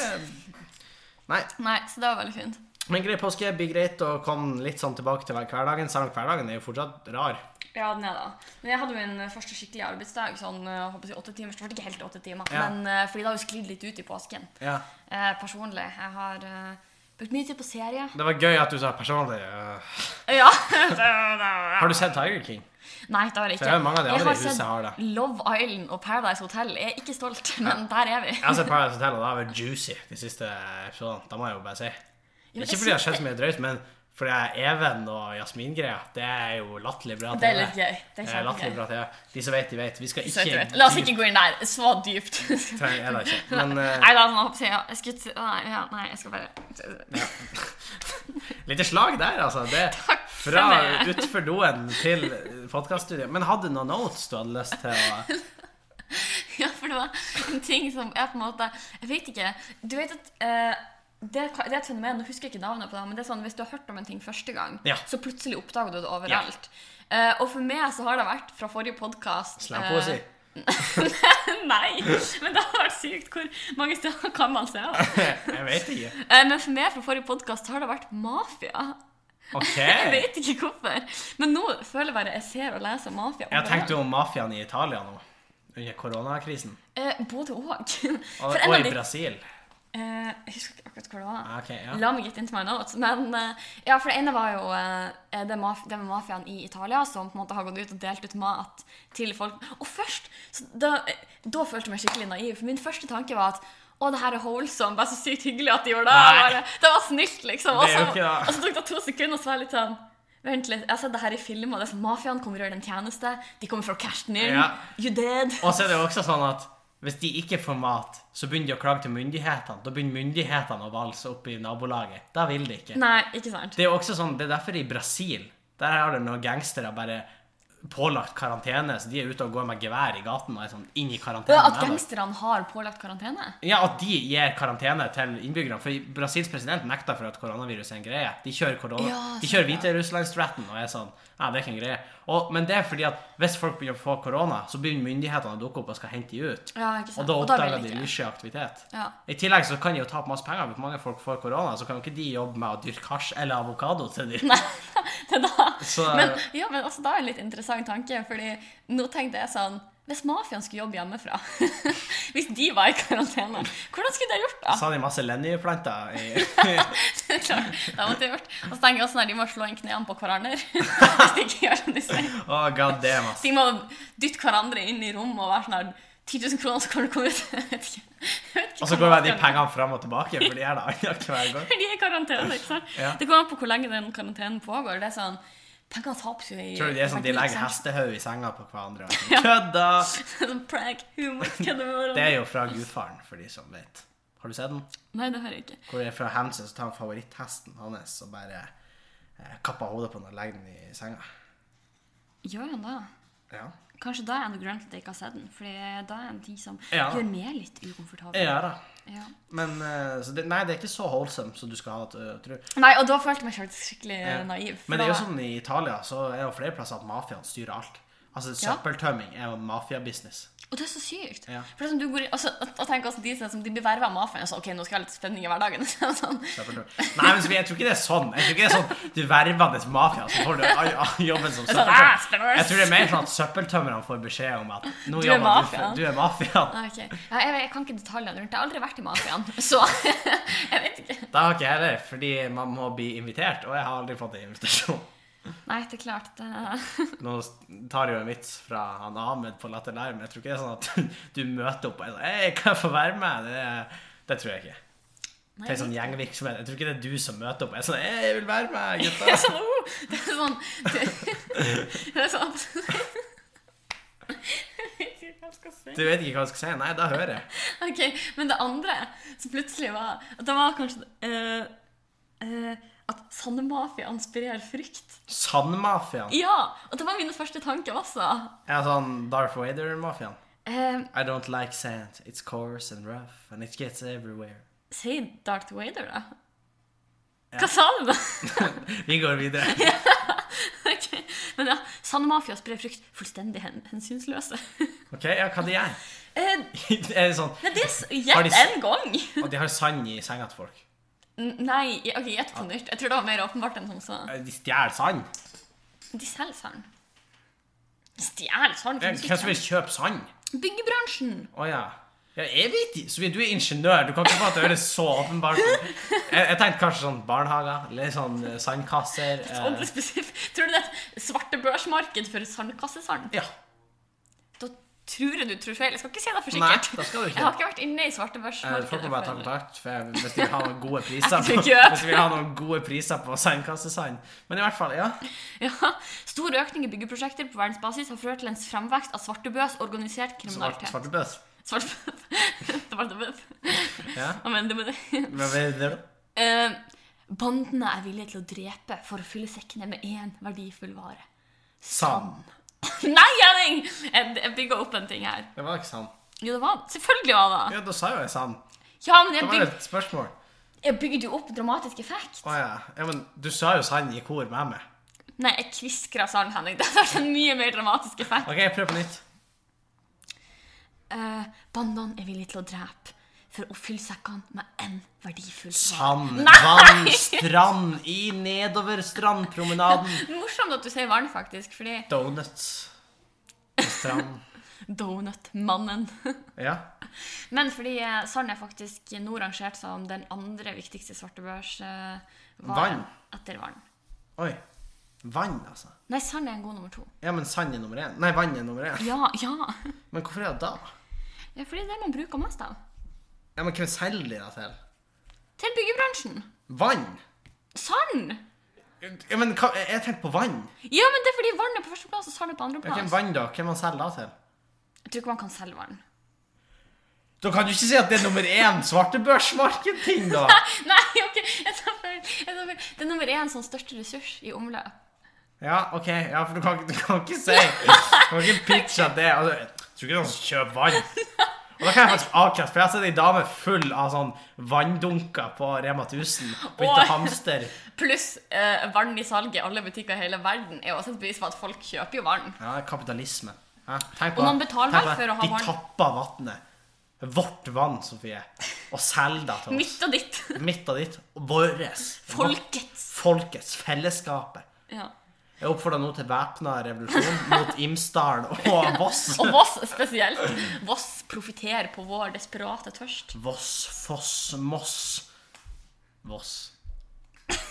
[SPEAKER 1] Nei.
[SPEAKER 2] Nei, så det var veldig fint.
[SPEAKER 1] Men grei påske blir greit å komme litt sånn tilbake til hverdagen, selv om hverdagen er jo fortsatt rar.
[SPEAKER 2] Ja, den er da. Men jeg hadde jo min første skikkelige arbeidsdag, sånn jeg håper å si åtte timer. Så det ble ikke helt åtte timer,
[SPEAKER 1] Ja.
[SPEAKER 2] men eh, fordi det har jo sklidd litt ut i påsken.
[SPEAKER 1] Ja.
[SPEAKER 2] Eh, personlig. Jeg har eh, brukt mye tid på serie.
[SPEAKER 1] Det var gøy at du sa personlig eh,
[SPEAKER 2] Ja. Har
[SPEAKER 1] Har du sett Tiger King?
[SPEAKER 2] Nei, det har jeg ikke.
[SPEAKER 1] For jeg har mange av de
[SPEAKER 2] Jeg
[SPEAKER 1] andre i
[SPEAKER 2] har
[SPEAKER 1] huset
[SPEAKER 2] sett
[SPEAKER 1] har det.
[SPEAKER 2] Love Island og Paradise Hotel. Jeg er ikke stolt, men der er vi.
[SPEAKER 1] Jeg har sett Paradise Hotel, og det har vært juicy de siste episodene. Det må jeg jo bare si.
[SPEAKER 2] Jo,
[SPEAKER 1] Ikke
[SPEAKER 2] jeg
[SPEAKER 1] fordi det har
[SPEAKER 2] synes
[SPEAKER 1] skjedd så mye drøyt, men fordi jeg er Even og Jasmin-greia. Det er jo latterlig bra
[SPEAKER 2] Det er litt gøy. Det
[SPEAKER 1] Det
[SPEAKER 2] er
[SPEAKER 1] er latterlig
[SPEAKER 2] kjempegøy.
[SPEAKER 1] bra TV. De som vet, de vet. Vi skal
[SPEAKER 2] Så jeg
[SPEAKER 1] ikke
[SPEAKER 2] vet- La oss ikke gå inn der. Så dypt.
[SPEAKER 1] Trenger jeg da ikke. Men eh,
[SPEAKER 2] Nei, da, nå håper jeg, jeg skulle, si- nei, ja, nei, jeg skal bare
[SPEAKER 1] Lite slag der, altså. Det,
[SPEAKER 2] for
[SPEAKER 1] fra
[SPEAKER 2] meg.
[SPEAKER 1] utfor doen til podkaststudioet. Men hadde du noen notes du hadde lyst til å
[SPEAKER 2] Ja, for det var en ting som jeg på en måte Jeg vet ikke. Du vet at eh, det, er- det er et fenomen, nå husker jeg ikke navnet på det, men det er sånn hvis du har hørt om en ting første gang,
[SPEAKER 1] Ja.
[SPEAKER 2] så plutselig oppdager du det overalt. Eh, og for meg så har det vært fra forrige podkast
[SPEAKER 1] Slampoesi.
[SPEAKER 2] Nei! Men det hadde vært sykt. Hvor mange steder kan man se det?
[SPEAKER 1] Jeg vet ikke.
[SPEAKER 2] Eh, Men for meg fra forrige podkast har det vært mafia.
[SPEAKER 1] OK.
[SPEAKER 2] Jeg vet ikke hvorfor. Men nå føler jeg bare jeg ser og leser mafia.
[SPEAKER 1] Jeg tenkte jo om mafiaen i Italia nå, under koronakrisen.
[SPEAKER 2] Eh, både òg.
[SPEAKER 1] Og,
[SPEAKER 2] For en
[SPEAKER 1] og
[SPEAKER 2] av
[SPEAKER 1] i
[SPEAKER 2] de
[SPEAKER 1] Brasil.
[SPEAKER 2] eh, Jeg husker ikke akkurat hvor det var.
[SPEAKER 1] Ah, Ok, ja.
[SPEAKER 2] La meg get into my notes. Men eh, ja, for det ene var jo eh, det, maf det med mafiaen i Italia som på en måte har gått ut og delt ut mat til folk. Og først, så da, eh, da følte jeg meg skikkelig naiv. For min første tanke var at å, det her er wholesome. Bare så sykt hyggelig at de gjorde det.
[SPEAKER 1] Nei.
[SPEAKER 2] Bare, det var snilt, liksom. Og
[SPEAKER 1] Det er
[SPEAKER 2] så,
[SPEAKER 1] jo ikke det.
[SPEAKER 2] og så tok det to sekunder, og så var jeg litt sånn Vent litt, jeg har sett det her i filmer. Det er sånn, Mafiaen kommer og gjør en tjeneste. De kommer for å cashe den inn.
[SPEAKER 1] Ja.
[SPEAKER 2] You dead.
[SPEAKER 1] Og så er det jo også sånn at hvis de ikke får mat, så begynner de å klage til myndighetene. Da begynner myndighetene å valse opp i nabolaget. Da vil de ikke.
[SPEAKER 2] Nei, ikke sant.
[SPEAKER 1] Det er jo også sånn, det er derfor i Brasil, der har du noen gangstere bare pålagt karantene, så de er ute og går med gevær i gaten og er sånn inn i karantene.
[SPEAKER 2] Ja,
[SPEAKER 1] med
[SPEAKER 2] At
[SPEAKER 1] det.
[SPEAKER 2] gangsterne har pålagt karantene?
[SPEAKER 1] Ja, at de gir karantene til innbyggerne. For Brasils president nekter for at koronavirus er en greie. De kjører, korona,
[SPEAKER 2] Ja,
[SPEAKER 1] de
[SPEAKER 2] sant,
[SPEAKER 1] kjører
[SPEAKER 2] ja.
[SPEAKER 1] Hviterussland-stratten og er sånn Ja, det er ikke en greie. Og, men det er fordi at hvis folk begynner å få korona, så begynner myndighetene å dukke opp og skal hente de ut.
[SPEAKER 2] Ja, ikke sant.
[SPEAKER 1] Og da
[SPEAKER 2] Og da vil
[SPEAKER 1] oppdager
[SPEAKER 2] de
[SPEAKER 1] de
[SPEAKER 2] ikke.
[SPEAKER 1] lyssky aktivitet.
[SPEAKER 2] Ja.
[SPEAKER 1] I tillegg så kan de jo tape masse penger. Hvis mange folk får korona, så kan jo ikke de jobbe med å dyrke hasj eller avokado til de.
[SPEAKER 2] Nei, det da.
[SPEAKER 1] Så-
[SPEAKER 2] Men, ja, men også da er det en litt interessant tanke, fordi nå tenkte jeg sånn Hvis mafiaen skulle jobbe hjemmefra, hvis de var i karantene, hvordan skulle de ha gjort da?
[SPEAKER 1] Så har de masse lenjeplanter i
[SPEAKER 2] Det er klart, det måtte jeg gjort. Og så tenker jeg også når de må slå inn knærne på hverandre. Hvis de ikke gjør som de sier.
[SPEAKER 1] Å, god damn, ass.
[SPEAKER 2] Så de må dytte hverandre inn i rommet og være sånn her 10 000 kroner, så kan du komme ut. Jeg vet ikke. Jeg vet ikke
[SPEAKER 1] Og så
[SPEAKER 2] hva
[SPEAKER 1] går bare de
[SPEAKER 2] mafiaen-
[SPEAKER 1] pengene fram og tilbake, for de er det andre hver gang.
[SPEAKER 2] De er i karantene, ikke sant?
[SPEAKER 1] Ja.
[SPEAKER 2] Det kommer an på hvor lenge den karantenen pågår. Det er sånn, Pengene tapes jo i
[SPEAKER 1] Tror du det er sånn de
[SPEAKER 2] verdi, ikke
[SPEAKER 1] legger
[SPEAKER 2] sant?
[SPEAKER 1] hestehau i senga på hverandre? og sånn, Kødda!
[SPEAKER 2] sånn prank, humor, kødde
[SPEAKER 1] Det
[SPEAKER 2] med hverandre.
[SPEAKER 1] er jo fra Gudfaren, for de som vet. Har du sett den?
[SPEAKER 2] Nei, det har jeg ikke.
[SPEAKER 1] Hvor det er fra Hamsun, så tar han favoritthesten hans og bare eh, kapper hodet på den og legger den i senga.
[SPEAKER 2] Gjør han det?
[SPEAKER 1] Ja.
[SPEAKER 2] Kanskje da er det grønt at jeg ikke har sett den. For da er han de som
[SPEAKER 1] Ja.
[SPEAKER 2] gjør meg litt ukomfortabel.
[SPEAKER 1] Ja da.
[SPEAKER 2] Ja.
[SPEAKER 1] Men eh, så det, Nei, det er ikke så wholesome som du skal ha det, tror jeg.
[SPEAKER 2] Nei, og da følte jeg meg selv skikkelig
[SPEAKER 1] Ja.
[SPEAKER 2] naiv. for
[SPEAKER 1] Men det er jo
[SPEAKER 2] da-
[SPEAKER 1] sånn i Italia, så er det jo flere plasser at mafiaen styrer alt. Altså,
[SPEAKER 2] Ja.
[SPEAKER 1] søppeltømming er jo mafia-business.
[SPEAKER 2] Og det er så sykt.
[SPEAKER 1] Ja.
[SPEAKER 2] For det er som du går i, altså, og- og tenk også de som de blir vervet av mafiaen. Så ok, nå skal jeg ha litt spenning i hverdagen. sånn.
[SPEAKER 1] Søppeltømming. Nei, men så jeg tror ikke det er sånn. Jeg tror ikke det er sånn Du verver deg til mafia, så får du ai- ai- jobben som
[SPEAKER 2] Sånn, ah,
[SPEAKER 1] søppeltømmer.
[SPEAKER 2] spennende.
[SPEAKER 1] Jeg tror det er mer sånn at søppeltømmerne får beskjed om at nå
[SPEAKER 2] Du er
[SPEAKER 1] jobber du,
[SPEAKER 2] mafiaen.
[SPEAKER 1] for- du er mafiaen.
[SPEAKER 2] Ah, ok. Ja, jeg, jeg kan ikke detaljene rundt det. Jeg har aldri vært i mafiaen, så jeg vet ikke.
[SPEAKER 1] Da har ikke jeg heller, fordi man må bli invitert, og jeg har aldri fått en invitasjon.
[SPEAKER 2] Nei, det er klart. Det...
[SPEAKER 1] Nå tar jeg jo en vits fra han Ahmed på Latter Live, men jeg tror ikke det er sånn at du møter opp og er sånn Hei, kan jeg få være med? Det, det tror jeg ikke.
[SPEAKER 2] Nei,
[SPEAKER 1] Det er sånn
[SPEAKER 2] jeg
[SPEAKER 1] gjengvirksomhet. Jeg tror ikke det er du som møter opp og er sånn Hei, jeg vil være med,
[SPEAKER 2] vet
[SPEAKER 1] gutta.
[SPEAKER 2] ikke. Det er sånn Det det er sånn Jeg vet ikke hva jeg skal si.
[SPEAKER 1] Du vet ikke hva du skal si? Nei, da hører jeg.
[SPEAKER 2] sånn. Ok, Men det andre som plutselig var at Det var kanskje eh, eh, at Sandemafiaen sprer frykt.
[SPEAKER 1] Sandmafiaen.
[SPEAKER 2] Ja! Og det var mine første tanker også.
[SPEAKER 1] Ja, sånn Darth Vader-mafiaen.
[SPEAKER 2] Eh,
[SPEAKER 1] I don't like sand. It's coarse and rough, and it gets everywhere.
[SPEAKER 2] si Darth Vader, da. Hva sa du, da?
[SPEAKER 1] Vi går videre.
[SPEAKER 2] Ok, Men ja, Sandemafia sprer frykt fullstendig hen hensynsløse.
[SPEAKER 1] OK, ja, hva de gjør?
[SPEAKER 2] Eh,
[SPEAKER 1] Er det sånn
[SPEAKER 2] men det er s-
[SPEAKER 1] Har de
[SPEAKER 2] Gjett
[SPEAKER 1] s-
[SPEAKER 2] en gang!
[SPEAKER 1] Og de har sand i senga til folk.
[SPEAKER 2] N- Nei, ja, ok, gjett på nytt. Jeg tror det var mer åpenbart enn som så.
[SPEAKER 1] De stjeler sand.
[SPEAKER 2] De selger sand. De Stjeler sand?
[SPEAKER 1] Hvem som vil kjøpe sand?
[SPEAKER 2] Byggebransjen!
[SPEAKER 1] Å ja. ja. Jeg vet ikke. Sofie, du er ingeniør. Du kan ikke få det til å høres så åpenbart ut. Jeg, jeg tenkte kanskje sånn barnehager, eller sånn eh, sandkasser. Eh,
[SPEAKER 2] Ordentlig spesifikt. Tror du det er et svartebørsmarked for sandkassesand?
[SPEAKER 1] ja.
[SPEAKER 2] Da tror jeg du tror feil. Jeg skal ikke si deg for
[SPEAKER 1] Nei,
[SPEAKER 2] sikkert.
[SPEAKER 1] da skal du
[SPEAKER 2] Jeg har
[SPEAKER 1] ikke.
[SPEAKER 2] ikke vært inne i
[SPEAKER 1] Eh,
[SPEAKER 2] svartebørsmarkedet.
[SPEAKER 1] Folk må bare ta
[SPEAKER 2] for-
[SPEAKER 1] kontakt for jeg- hvis de vil ha noen gode priser på,
[SPEAKER 2] Jeg tror ikke.
[SPEAKER 1] hvis de vil ha noen gode priser på sandkassesand. Men i hvert fall, ja.
[SPEAKER 2] Ja. Stor økning i byggeprosjekter på verdensbasis har ført til en framvekst av svartebørs, organisert
[SPEAKER 1] Svart,
[SPEAKER 2] kriminalitet.
[SPEAKER 1] Svartebøs.
[SPEAKER 2] Svartebøs. Svartebøs.
[SPEAKER 1] Ja.
[SPEAKER 2] Hva mener du med det?
[SPEAKER 1] Men vet dere-
[SPEAKER 2] Eh, bandene er villige til å drepe for å fylle sekkene med én verdifull vare.
[SPEAKER 1] Sand.
[SPEAKER 2] Nei, Henning! Jeg, jeg bygger opp en ting her.
[SPEAKER 1] Det var ikke sand.
[SPEAKER 2] Jo, det var Selvfølgelig var det
[SPEAKER 1] Ja, da sa jo jeg sand.
[SPEAKER 2] Ja, men jeg,
[SPEAKER 1] Det var
[SPEAKER 2] byg,
[SPEAKER 1] et spørsmål.
[SPEAKER 2] jeg bygde jo opp dramatisk effekt.
[SPEAKER 1] Å ja. ja. Men du sa jo sand i kor med meg.
[SPEAKER 2] Nei, jeg kviskra sand, Henning. Det hadde vært en mye mer dramatisk effekt.
[SPEAKER 1] OK, prøv på nytt.
[SPEAKER 2] eh, bandene er villige til å drepe for å fylle sekkene med en verdifull sak.
[SPEAKER 1] Sand,
[SPEAKER 2] Nei!
[SPEAKER 1] vann, strand, i nedover strandpromenaden.
[SPEAKER 2] Morsomt at du sier vann, faktisk, fordi
[SPEAKER 1] Donuts på strand.
[SPEAKER 2] Donutmannen.
[SPEAKER 1] Ja.
[SPEAKER 2] Men fordi eh, sand er faktisk nå rangert som den andre viktigste svartebørsvaren
[SPEAKER 1] Vann.
[SPEAKER 2] etter vann.
[SPEAKER 1] Oi. Vann, altså.
[SPEAKER 2] Nei, sand er en god nummer to.
[SPEAKER 1] Ja, men sand er nummer én. Nei, vann er nummer én.
[SPEAKER 2] Ja, ja.
[SPEAKER 1] Men hvorfor er det da?
[SPEAKER 2] ja fordi det er det man bruker mest av.
[SPEAKER 1] Ja, men hvem selger det til?
[SPEAKER 2] Til byggebransjen.
[SPEAKER 1] Vann?
[SPEAKER 2] Sand!
[SPEAKER 1] Ja, men hva, jeg tenkte på vann.
[SPEAKER 2] Ja, men det er fordi vann er på førsteplass og sand er på
[SPEAKER 1] Ja, hvem
[SPEAKER 2] andreplass.
[SPEAKER 1] vann da? Hvem man selger da til?
[SPEAKER 2] Jeg tror ikke man kan selge vann.
[SPEAKER 1] Da kan du ikke si at det er nummer én svartebørsmarked-ting, da!
[SPEAKER 2] Nei, ok, jeg tar feil. jeg tar feil. Det er nummer én som største ressurs i omløp.
[SPEAKER 1] Ja, ok, ja, for du kan, du kan ikke si Du kan ikke pitche at det altså, Jeg tror ikke noen som kjøper vann Og da kan jeg faktisk avkrefte, for jeg har sett en dame full av sånn vanndunker på Rema 1000 Begynte
[SPEAKER 2] Åh.
[SPEAKER 1] å hamster
[SPEAKER 2] Pluss eh, vann i salg i alle butikker i hele verden er jo også et bevis på at folk kjøper jo vann.
[SPEAKER 1] Ja, kapitalisme ja, tenk
[SPEAKER 2] Og noen betaler
[SPEAKER 1] tenk på
[SPEAKER 2] vel for å ha vann?
[SPEAKER 1] De tapper vattnet Vårt vann, Sofie Og selger det til oss
[SPEAKER 2] Mitt og ditt.
[SPEAKER 1] Midt av ditt, og våres
[SPEAKER 2] Folkets.
[SPEAKER 1] Folkets, fellesskapet
[SPEAKER 2] Ja.
[SPEAKER 1] Jeg oppfordrer nå til væpna revolusjon Mot Imsdal og Voss
[SPEAKER 2] Og Voss spesielt. Voss profitterer på vår desperate tørst.
[SPEAKER 1] Voss, Foss, Moss. Voss.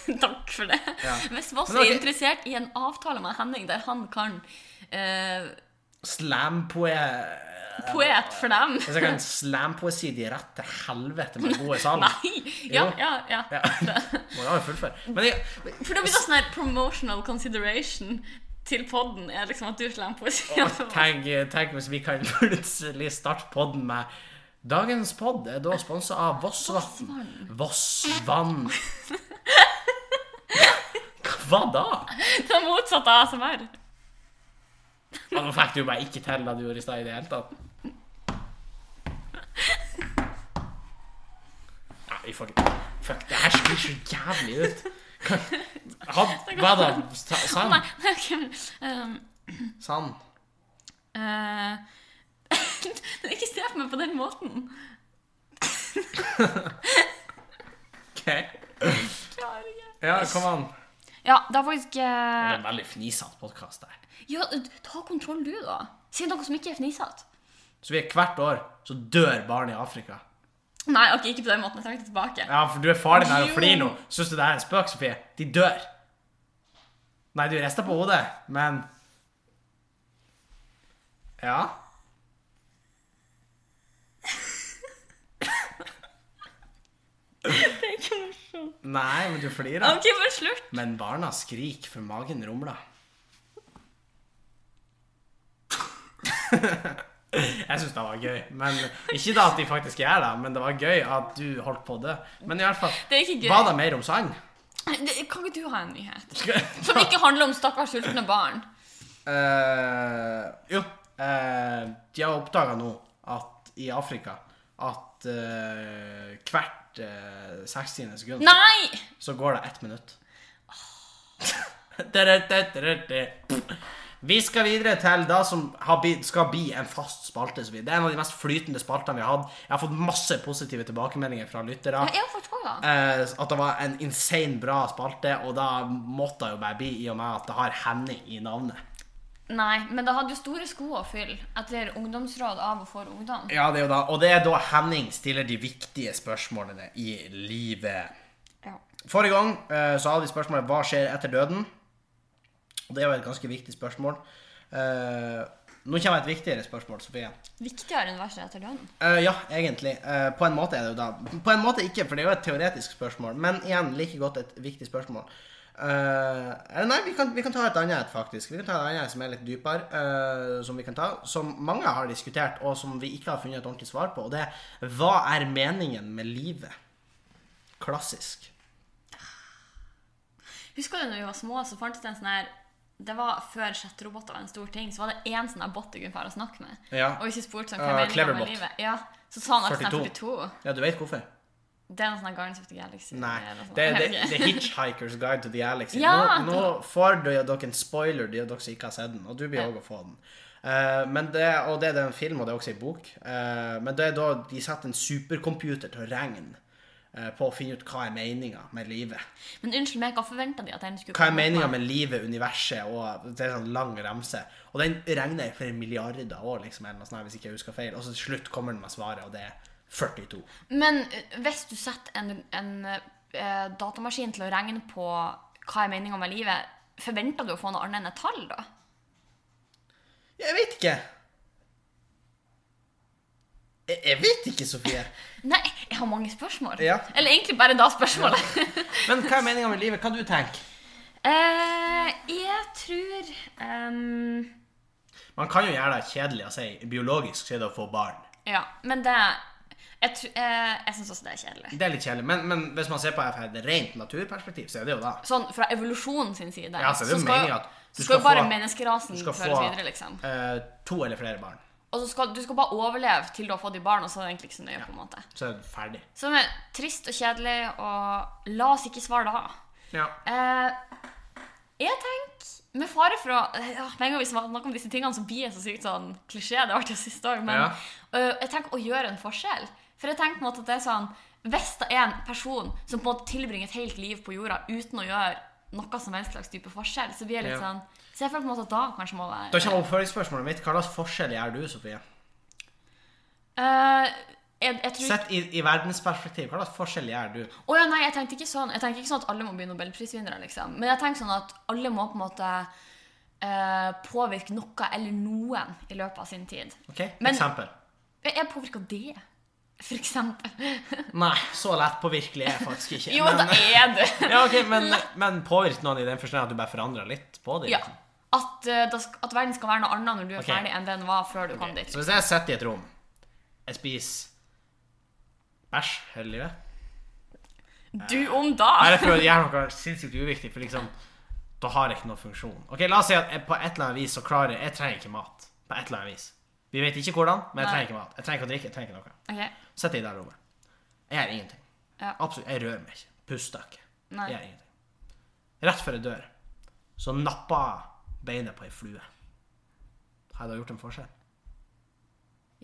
[SPEAKER 2] Takk for det.
[SPEAKER 1] Ja.
[SPEAKER 2] Hvis Voss
[SPEAKER 1] Men ok.
[SPEAKER 2] er interessert i en avtale med Henning der han kan eh,
[SPEAKER 1] Slampoe...
[SPEAKER 2] poet for dem
[SPEAKER 1] Hvis jeg kan slampoesi de rett til helvete med gode sang.
[SPEAKER 2] Nei!
[SPEAKER 1] Jo.
[SPEAKER 2] Ja, ja, ja.
[SPEAKER 1] Ja. Må jo ha en fullfør. Men jeg,
[SPEAKER 2] For da blir det sånn her promotional consideration til podden er liksom at du slenger poesien for Voss.
[SPEAKER 1] tenk, tenk hvis vi kan plutselig starte podden med Dagens podd er da sponsa av Vossvatn. Vossvann. Hva da?
[SPEAKER 2] Det er motsatt av ASMR.
[SPEAKER 1] Ja, Nå fikk du jo bare ikke til det du gjorde i stad i det hele tatt. Nei, vi får ikke Fuck, det her sklir så jævlig ut. Had- Hva da? Sa-
[SPEAKER 2] Nei,
[SPEAKER 1] Sand?
[SPEAKER 2] nei, ok, men ehm,
[SPEAKER 1] Sand?
[SPEAKER 2] Eh, ikke se på meg på den måten.
[SPEAKER 1] OK. Ja, kom an.
[SPEAKER 2] Ja, det er faktisk
[SPEAKER 1] Det
[SPEAKER 2] eh,
[SPEAKER 1] er en veldig fnisete podkast, der.
[SPEAKER 2] Ja, ta kontroll du, da. Si noe som ikke er fnisete.
[SPEAKER 1] Så vi er hvert år så dør barn i Afrika.
[SPEAKER 2] Nei, ok, ikke på den måten. Jeg trekker det tilbake.
[SPEAKER 1] Ja, for du er farlig der og
[SPEAKER 2] Jo.
[SPEAKER 1] flirer nå. Syns du det er en spøk, Sofie? De dør. Nei, du rister på hodet, men Ja?
[SPEAKER 2] Det er ikke morsomt.
[SPEAKER 1] Nei, men du flirer.
[SPEAKER 2] Ok, men slutt.
[SPEAKER 1] Men barna skriker, for magen rumler. Jeg syns det var gøy. Men Ikke da at de faktisk gjør det, men det var gøy at du holdt på det. Men i alle fall,
[SPEAKER 2] Det er ikke gøy.
[SPEAKER 1] var det mer om sand?
[SPEAKER 2] Det, kan ikke du ha en nyhet?
[SPEAKER 1] Skal-
[SPEAKER 2] Som ikke handler om stakkars sultne barn.
[SPEAKER 1] Eh, jo. eh, de har oppdaga nå at i Afrika at eh, hvert eh, 60. sekund
[SPEAKER 2] Nei!
[SPEAKER 1] så går det ett minutt. Tadadadadadada. Ah. Vi skal videre til det som har bli, skal bli en fast spalte. Sofie. Det er en av de mest flytende spaltene vi har hatt. Jeg har fått masse positive tilbakemeldinger fra lyttere.
[SPEAKER 2] Jeg er jo faktisk også, da.
[SPEAKER 1] Eh, at det var en insane bra spalte, og da måtte det jo bare bli i og med at det har Henning i navnet.
[SPEAKER 2] Nei, men det hadde jo store sko å fylle etter ungdomsråd av og for ungdom.
[SPEAKER 1] Ja, det er jo da, Og det er da Henning stiller de viktige spørsmålene i livet.
[SPEAKER 2] Ja.
[SPEAKER 1] Forrige gang eh, så hadde vi spørsmålet Hva skjer etter døden? Og det er jo et ganske viktig spørsmål. Eh, nå kommer et viktigere spørsmål, Sofie.
[SPEAKER 2] Viktigere enn verset etter døden.
[SPEAKER 1] Eh, ja, egentlig. Eh, på en måte er det jo da På en måte ikke, for det er jo et teoretisk spørsmål. Men igjen, like godt et viktig spørsmål. Eh, eller nei, vi kan, vi kan ta et annet, faktisk. Vi kan ta et annet som er litt dypere. eh, som vi kan ta Som mange har diskutert, og som vi ikke har funnet et ordentlig svar på. Og det er Hva er meningen med livet? Klassisk.
[SPEAKER 2] Husker du når vi var små, så fantes det en sånn her Det var før chatteroboter var en stor ting, så var det én sånn her bot du kunne fære å snakke med.
[SPEAKER 1] Ja.
[SPEAKER 2] Og hvis vi spurte
[SPEAKER 1] Eh,
[SPEAKER 2] sånn, hva er meningen
[SPEAKER 1] Cleverbot.
[SPEAKER 2] med livet, ja, så sa han alltid sånn
[SPEAKER 1] 42.
[SPEAKER 2] 42.
[SPEAKER 1] Ja, du veit hvorfor?
[SPEAKER 2] Det er en sånn her Guardians of the Galaxy.
[SPEAKER 1] Nei.
[SPEAKER 2] eller noe sånn sånt.
[SPEAKER 1] Det er The,
[SPEAKER 2] Jeg vet ikke.
[SPEAKER 1] the Hitchhiker's Guide to the Galaxy.
[SPEAKER 2] Ja,
[SPEAKER 1] nå, nå får dere dere en spoiler, de av dere som ikke har sett den. Og du blir
[SPEAKER 2] Ja.
[SPEAKER 1] òg å få den. Eh, men det, og det er en film, og det er også en bok. Eh, men det er da de setter en supercomputer til å regne eh, på å finne ut hva er meninga med livet.
[SPEAKER 2] Men unnskyld meg, hva forventa de at den skulle
[SPEAKER 1] Hva er
[SPEAKER 2] komme
[SPEAKER 1] meninga
[SPEAKER 2] på?
[SPEAKER 1] med livet, universet og Det er en sånn lang ramse. Og den regner jeg flere milliarder år, liksom, eller noe sånt, her, hvis ikke jeg husker feil. Og så til slutt kommer den med svaret, og det er 42.
[SPEAKER 2] Men eh, hvis du setter en, en eh, datamaskin til å regne på hva er meninga med livet, forventer du å få noe annet enn et tall, da?
[SPEAKER 1] Jeg vet ikke. Jeg, jeg vet ikke, Sofie.
[SPEAKER 2] Nei, jeg har mange spørsmål.
[SPEAKER 1] Ja.
[SPEAKER 2] Eller egentlig bare da spørsmålet.
[SPEAKER 1] Men hva er meninga med livet? Hva du tenker
[SPEAKER 2] Eh, jeg tror ehm,
[SPEAKER 1] Man kan jo gjøre det kjedelig å si biologisk, så er det å få barn.
[SPEAKER 2] Ja, men det Jeg, tr- eh, jeg syns også det er kjedelig.
[SPEAKER 1] Det er litt kjedelig, men, men hvis man ser på det fra et rent naturperspektiv, så er det jo da.
[SPEAKER 2] Sånn fra evolusjonen sin side.
[SPEAKER 1] Ja, så er det jo
[SPEAKER 2] skal,
[SPEAKER 1] meningen at du
[SPEAKER 2] skal,
[SPEAKER 1] skal
[SPEAKER 2] jo bare
[SPEAKER 1] få-
[SPEAKER 2] menneskerasen
[SPEAKER 1] Du skal
[SPEAKER 2] føres
[SPEAKER 1] få
[SPEAKER 2] videre, liksom.
[SPEAKER 1] eh, to eller flere barn,
[SPEAKER 2] Og så skal du skal bare overleve til du har fått de barn, og så er det egentlig ikke så nøye, på en måte.
[SPEAKER 1] så er du ferdig.
[SPEAKER 2] Som er trist og kjedelig, og la oss ikke svare da.
[SPEAKER 1] Ja.
[SPEAKER 2] Eh, jeg tenker, med fare for å eh, ja, Med en gang vi snakker om disse tingene, så blir jeg så sykt sånn klisjé. Det har vært det siste òg. Men
[SPEAKER 1] Ja.
[SPEAKER 2] eh, jeg tenker å gjøre en forskjell. For jeg tenker på en måte at det er sånn Hvis det er en person som på en måte tilbringer et helt liv på jorda uten å gjøre noe som helst slags type forskjell, så blir jeg litt
[SPEAKER 1] Ja.
[SPEAKER 2] sånn Så jeg føler på en måte at da kanskje må være
[SPEAKER 1] Da kommer oppfølgingsspørsmålet mitt. Hva slags forskjell gjør du, Sofie?
[SPEAKER 2] Eh, jeg, jeg tror
[SPEAKER 1] Sett i, i verdensperspektiv, hva slags forskjell gjør du?
[SPEAKER 2] Å ja, nei, jeg tenkte ikke sånn Jeg tenkte ikke sånn at alle må bli nobelprisvinnere, liksom. Men jeg tenkte sånn at alle må på en måte eh, påvirke noe eller noen i løpet av sin tid.
[SPEAKER 1] Ok,
[SPEAKER 2] Men-
[SPEAKER 1] Eksempel.
[SPEAKER 2] Jeg- Jeg påvirker det, for eksempel.
[SPEAKER 1] Nei, så lett påvirkelig er jeg faktisk ikke.
[SPEAKER 2] Jo, da
[SPEAKER 1] men,
[SPEAKER 2] er du
[SPEAKER 1] ja, ok, men, men påvirk noen i den forstand at du bare forandrer litt på det?
[SPEAKER 2] Ja.
[SPEAKER 1] liksom.
[SPEAKER 2] At, eh, da sk- at verden skal være noe annet når du er
[SPEAKER 1] Ok.
[SPEAKER 2] ferdig, enn den var før du kom dit.
[SPEAKER 1] Så hvis jeg sitter i et rom, jeg spiser bæsj hele livet
[SPEAKER 2] Du om
[SPEAKER 1] Nei,
[SPEAKER 2] da!
[SPEAKER 1] jeg føler jeg gjør noe sinnssykt uviktig, for liksom Da har jeg ikke noen funksjon. Ok, La oss si at jeg på et eller annet vis så klarer jeg Jeg trenger ikke mat. På et eller annet vis. Vi vet ikke hvordan, men jeg
[SPEAKER 2] Nei.
[SPEAKER 1] trenger ikke mat. Jeg trenger ikke å drikke, jeg trenger ikke noe.
[SPEAKER 2] Ok.
[SPEAKER 1] Sitter i det rommet. Jeg gjør ingenting.
[SPEAKER 2] Ja.
[SPEAKER 1] Absolutt. Jeg rører meg ikke. Puster ikke.
[SPEAKER 2] Nei.
[SPEAKER 1] Jeg gjør ingenting. Rett før jeg dør, så napper jeg beinet på ei flue. Har jeg da gjort en forskjell?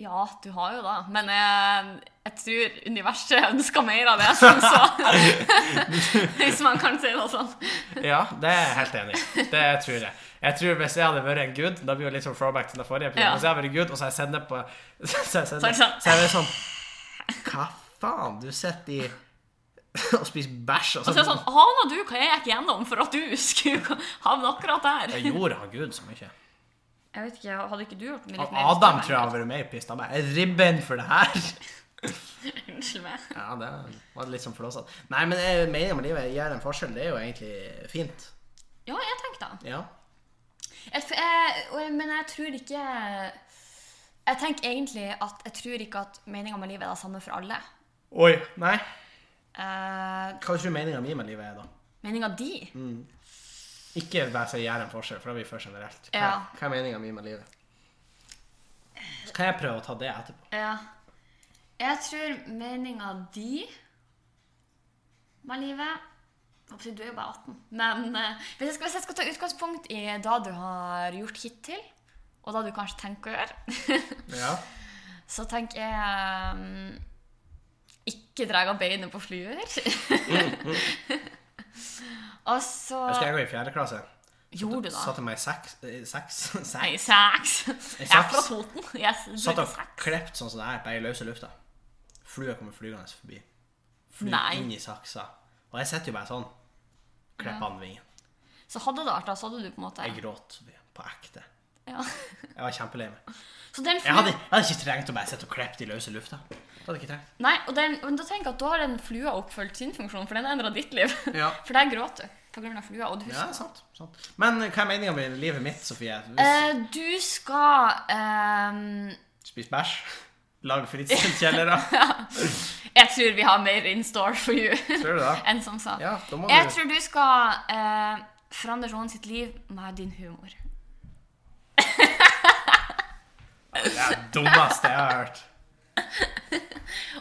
[SPEAKER 2] Ja, du har jo da. Men jeg, jeg tror universet ønsker mer av det, sånn så Hvis man kan si det sånn.
[SPEAKER 1] Ja, det er jeg helt enig i. Det tror jeg. Jeg tror Hvis jeg hadde vært en gud Da blir det litt sånn throwback til den forrige episoden.
[SPEAKER 2] Ja.
[SPEAKER 1] Hvis jeg hadde vært gud, og så har jeg sett det på Så har jeg sett det
[SPEAKER 2] Så er det sånn.
[SPEAKER 1] så er det sånn Hva faen? Du sitter i og spiser bæsj, og
[SPEAKER 2] Og så er det sånn, aner du hva jeg gikk gjennom for at du skulle havne akkurat der?
[SPEAKER 1] Jeg gjorde han gud så mye.
[SPEAKER 2] Jeg vet ikke, hadde ikke du gjort mye litt mer?
[SPEAKER 1] Adam tror jeg har vært med i pista meg. Ribben for det her!
[SPEAKER 2] Unnskyld meg.
[SPEAKER 1] Ja, det var litt sånn flåsete. Nei, men jeg mener med livet gjør en forskjell. Det er jo egentlig fint.
[SPEAKER 2] Ja, jeg tenkte det.
[SPEAKER 1] Ja.
[SPEAKER 2] Jeg, f- jeg, og jeg- men jeg tror ikke Jeg tenker egentlig at jeg tror ikke at meninga med livet er det samme for alle.
[SPEAKER 1] Oi. Nei.
[SPEAKER 2] Uh,
[SPEAKER 1] Hva tror du meninga mi med livet er, da?
[SPEAKER 2] meninga di?
[SPEAKER 1] Ikke bare si 'gjør en forskjell', for da blir vi for generelt. Hva,
[SPEAKER 2] Ja.
[SPEAKER 1] hva er meninga mi med livet? Så kan jeg prøve å ta det etterpå.
[SPEAKER 2] Ja. Jeg tror meninga di med livet Jeg håper ikke Du er jo bare 18. Men eh, hvis, jeg skal, hvis jeg skal ta utgangspunkt i det du har gjort hittil, og det du kanskje tenker å gjøre,
[SPEAKER 1] Ja.
[SPEAKER 2] så tenker jeg mm, ikke dra av beinet på fluer. og så
[SPEAKER 1] Jeg husker jeg går i fjerde klasse.
[SPEAKER 2] gjorde du da
[SPEAKER 1] Satte meg i seks eh, Seks?
[SPEAKER 2] Nei,
[SPEAKER 1] seks.
[SPEAKER 2] seks. Jeg er fra
[SPEAKER 1] seks.
[SPEAKER 2] Toten. Yes, du
[SPEAKER 1] Satt
[SPEAKER 2] er
[SPEAKER 1] og
[SPEAKER 2] seks.
[SPEAKER 1] klept sånn som det her, bare i løse lufta. Flua kommer flygende forbi. Flyr
[SPEAKER 2] Nei.
[SPEAKER 1] inn i saksa. Og jeg sitter jo bare sånn. Klipper av vingen.
[SPEAKER 2] Så hadde det vært da, så hadde du på en måte
[SPEAKER 1] Jeg gråt Sofie, på ekte.
[SPEAKER 2] ja.
[SPEAKER 1] Jeg var kjempelei meg.
[SPEAKER 2] Så den
[SPEAKER 1] Jeg
[SPEAKER 2] flua
[SPEAKER 1] hadde, jeg hadde ikke trengt å bare sitte og klippe i løse lufta. Det hadde jeg ikke trengt.
[SPEAKER 2] Nei, og den, men da tenker jeg at da har den flua oppfylt sin funksjon, for den endra ditt liv.
[SPEAKER 1] Ja.
[SPEAKER 2] For der gråt du på grunn av flua. Og du,
[SPEAKER 1] Ja, sant, sant. Men eh, hva er meninga med livet mitt, Sofie? Hvis-
[SPEAKER 2] eh, du skal ehm,
[SPEAKER 1] Spis bæsj. Lag fritidskjellere.
[SPEAKER 2] Jeg tror vi har mer in store for you
[SPEAKER 1] Tror du det?
[SPEAKER 2] enn som sa.
[SPEAKER 1] Ja, da må
[SPEAKER 2] Jeg
[SPEAKER 1] du
[SPEAKER 2] tror du skal eh, forandre noen sitt liv med din humor.
[SPEAKER 1] Det er det dummeste jeg har hørt.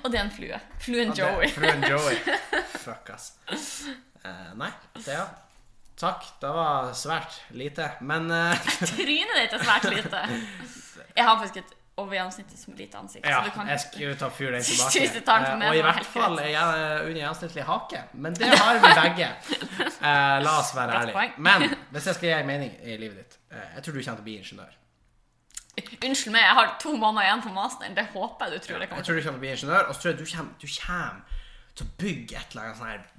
[SPEAKER 2] Og det er en flue. Fluen
[SPEAKER 1] Ja, det-
[SPEAKER 2] Joey.
[SPEAKER 1] Fruen Joey. Fuck, ass. Eh, nei, det ja. Takk. Det var svært lite. Men eh,
[SPEAKER 2] Trynet ditt er svært lite. Jeg har faktisk et over gjennomsnittet som lite ansikt.
[SPEAKER 1] ja,
[SPEAKER 2] så du kan...
[SPEAKER 1] jeg skulle ta fyr den tilbake.
[SPEAKER 2] Hvis du tar den
[SPEAKER 1] Eh, og i
[SPEAKER 2] med, så er det
[SPEAKER 1] hvert
[SPEAKER 2] helt
[SPEAKER 1] fall er jeg eh, under gjennomsnittlig hake. Men det har vi begge. Eh, la oss være
[SPEAKER 2] Godt
[SPEAKER 1] ærlige.
[SPEAKER 2] poeng.
[SPEAKER 1] Men hvis jeg skal gi en mening i livet ditt eh, Jeg tror du kommer til å bli ingeniør.
[SPEAKER 2] Unnskyld meg, jeg har to måneder igjen på masteren. Det håper jeg du tror jeg
[SPEAKER 1] Jeg
[SPEAKER 2] kommer til.
[SPEAKER 1] tror du kommer til å bli ingeniør, og så tror jeg du kommer, du kommer til å bygge et eller annet sånn her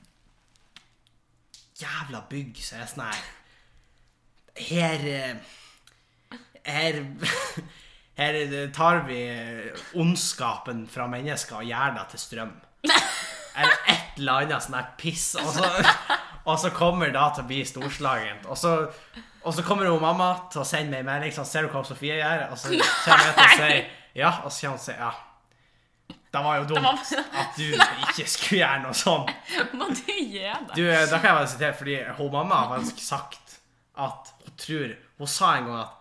[SPEAKER 1] Jævla bygg som er sånn her Her eh, Her Her tar vi ondskapen fra mennesker og gjør det til strøm. Eller et eller annet sånn her piss. Og så, og så kommer det da til å bli storslagent. Og så, og så kommer jo mamma til å sende meg en melding sånn Ser du hva Sofie gjør? Og så kommer jeg til å si ja. Og så kommer hun til å si ja. Det var jo dumt at du ikke skulle gjøre noe sånt.
[SPEAKER 2] Må du gi deg?
[SPEAKER 1] Du, eh, da kan jeg bare sitere, fordi hun mamma har faktisk sagt at hun tror Hun sa en gang at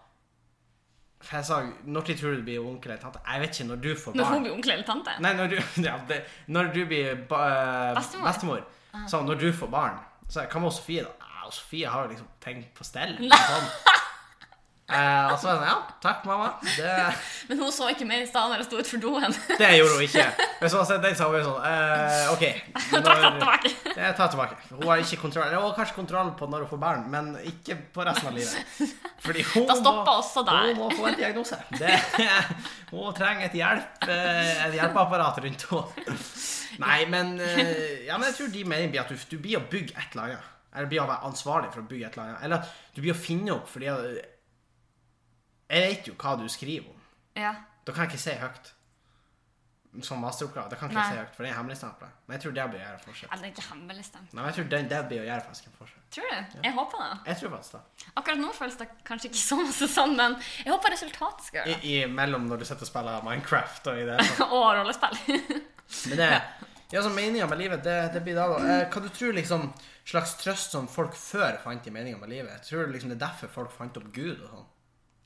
[SPEAKER 1] For jeg sa Når tid tror du du blir onkel eller tante? Jeg vet ikke. Når du får
[SPEAKER 2] Når hun
[SPEAKER 1] barn?
[SPEAKER 2] blir onkel eller tante?
[SPEAKER 1] Nei, når du, ja, det, når du blir ba, eh,
[SPEAKER 2] Bestemor. Ah.
[SPEAKER 1] bestemor. Sånn, når du får barn, så jeg, hva med Sofie, da? Ja, Sofie har jo liksom ting på stell. Sånn. Eh, og så var jeg sånn Ja, takk, mamma. Det
[SPEAKER 2] Men hun så ikke mer i stad når jeg sto utfor doen.
[SPEAKER 1] det gjorde hun ikke. Hvis hun hadde sett den, så hadde hun vært sånn eh, OK.
[SPEAKER 2] Jeg trakk den tilbake.
[SPEAKER 1] Jeg tar tilbake. Hun har ikke kontroll Hun har kanskje kontroll på når hun får barn, men ikke på resten av livet. Fordi hun
[SPEAKER 2] Da stoppa også der.
[SPEAKER 1] Hun må få en diagnose. Det, hun trenger et, hjelp, eh, et hjelpeapparat rundt henne. Nei, men, eh, ja, men jeg tror de mener blir at du, du blir å bygge et eller annet. Eller blir å være ansvarlig for å bygge et eller annet. Eller at du blir å finne opp, fordi eh, Jeg vet jo hva du skriver om.
[SPEAKER 2] Ja.
[SPEAKER 1] Da kan jeg ikke si høyt. Som masteroppgave. Da kan jeg ikke
[SPEAKER 2] Nei.
[SPEAKER 1] si høyt, for det er hemmeligstempla. Men jeg tror det blir å gjøre en forskjell.
[SPEAKER 2] Eller ikke hemmeligstemt.
[SPEAKER 1] Nei, men jeg tror den, det blir å gjøre faktisk en forskjell.
[SPEAKER 2] Tror du? Jeg håper det.
[SPEAKER 1] Jeg tror faktisk det.
[SPEAKER 2] Akkurat nå føles det kanskje ikke så masse sånn, men jeg håper resultatet skal
[SPEAKER 1] I,
[SPEAKER 2] gjøre det.
[SPEAKER 1] i mellom når du sitter og spiller Minecraft og i det. hele tatt.
[SPEAKER 2] Og rollespill.
[SPEAKER 1] Men det ja, så meninga med livet, det, det blir da, da. Eh, Hva du tror liksom slags trøst som folk før fant i meninga med livet? Jeg tror liksom det er derfor folk fant opp Gud og sånn.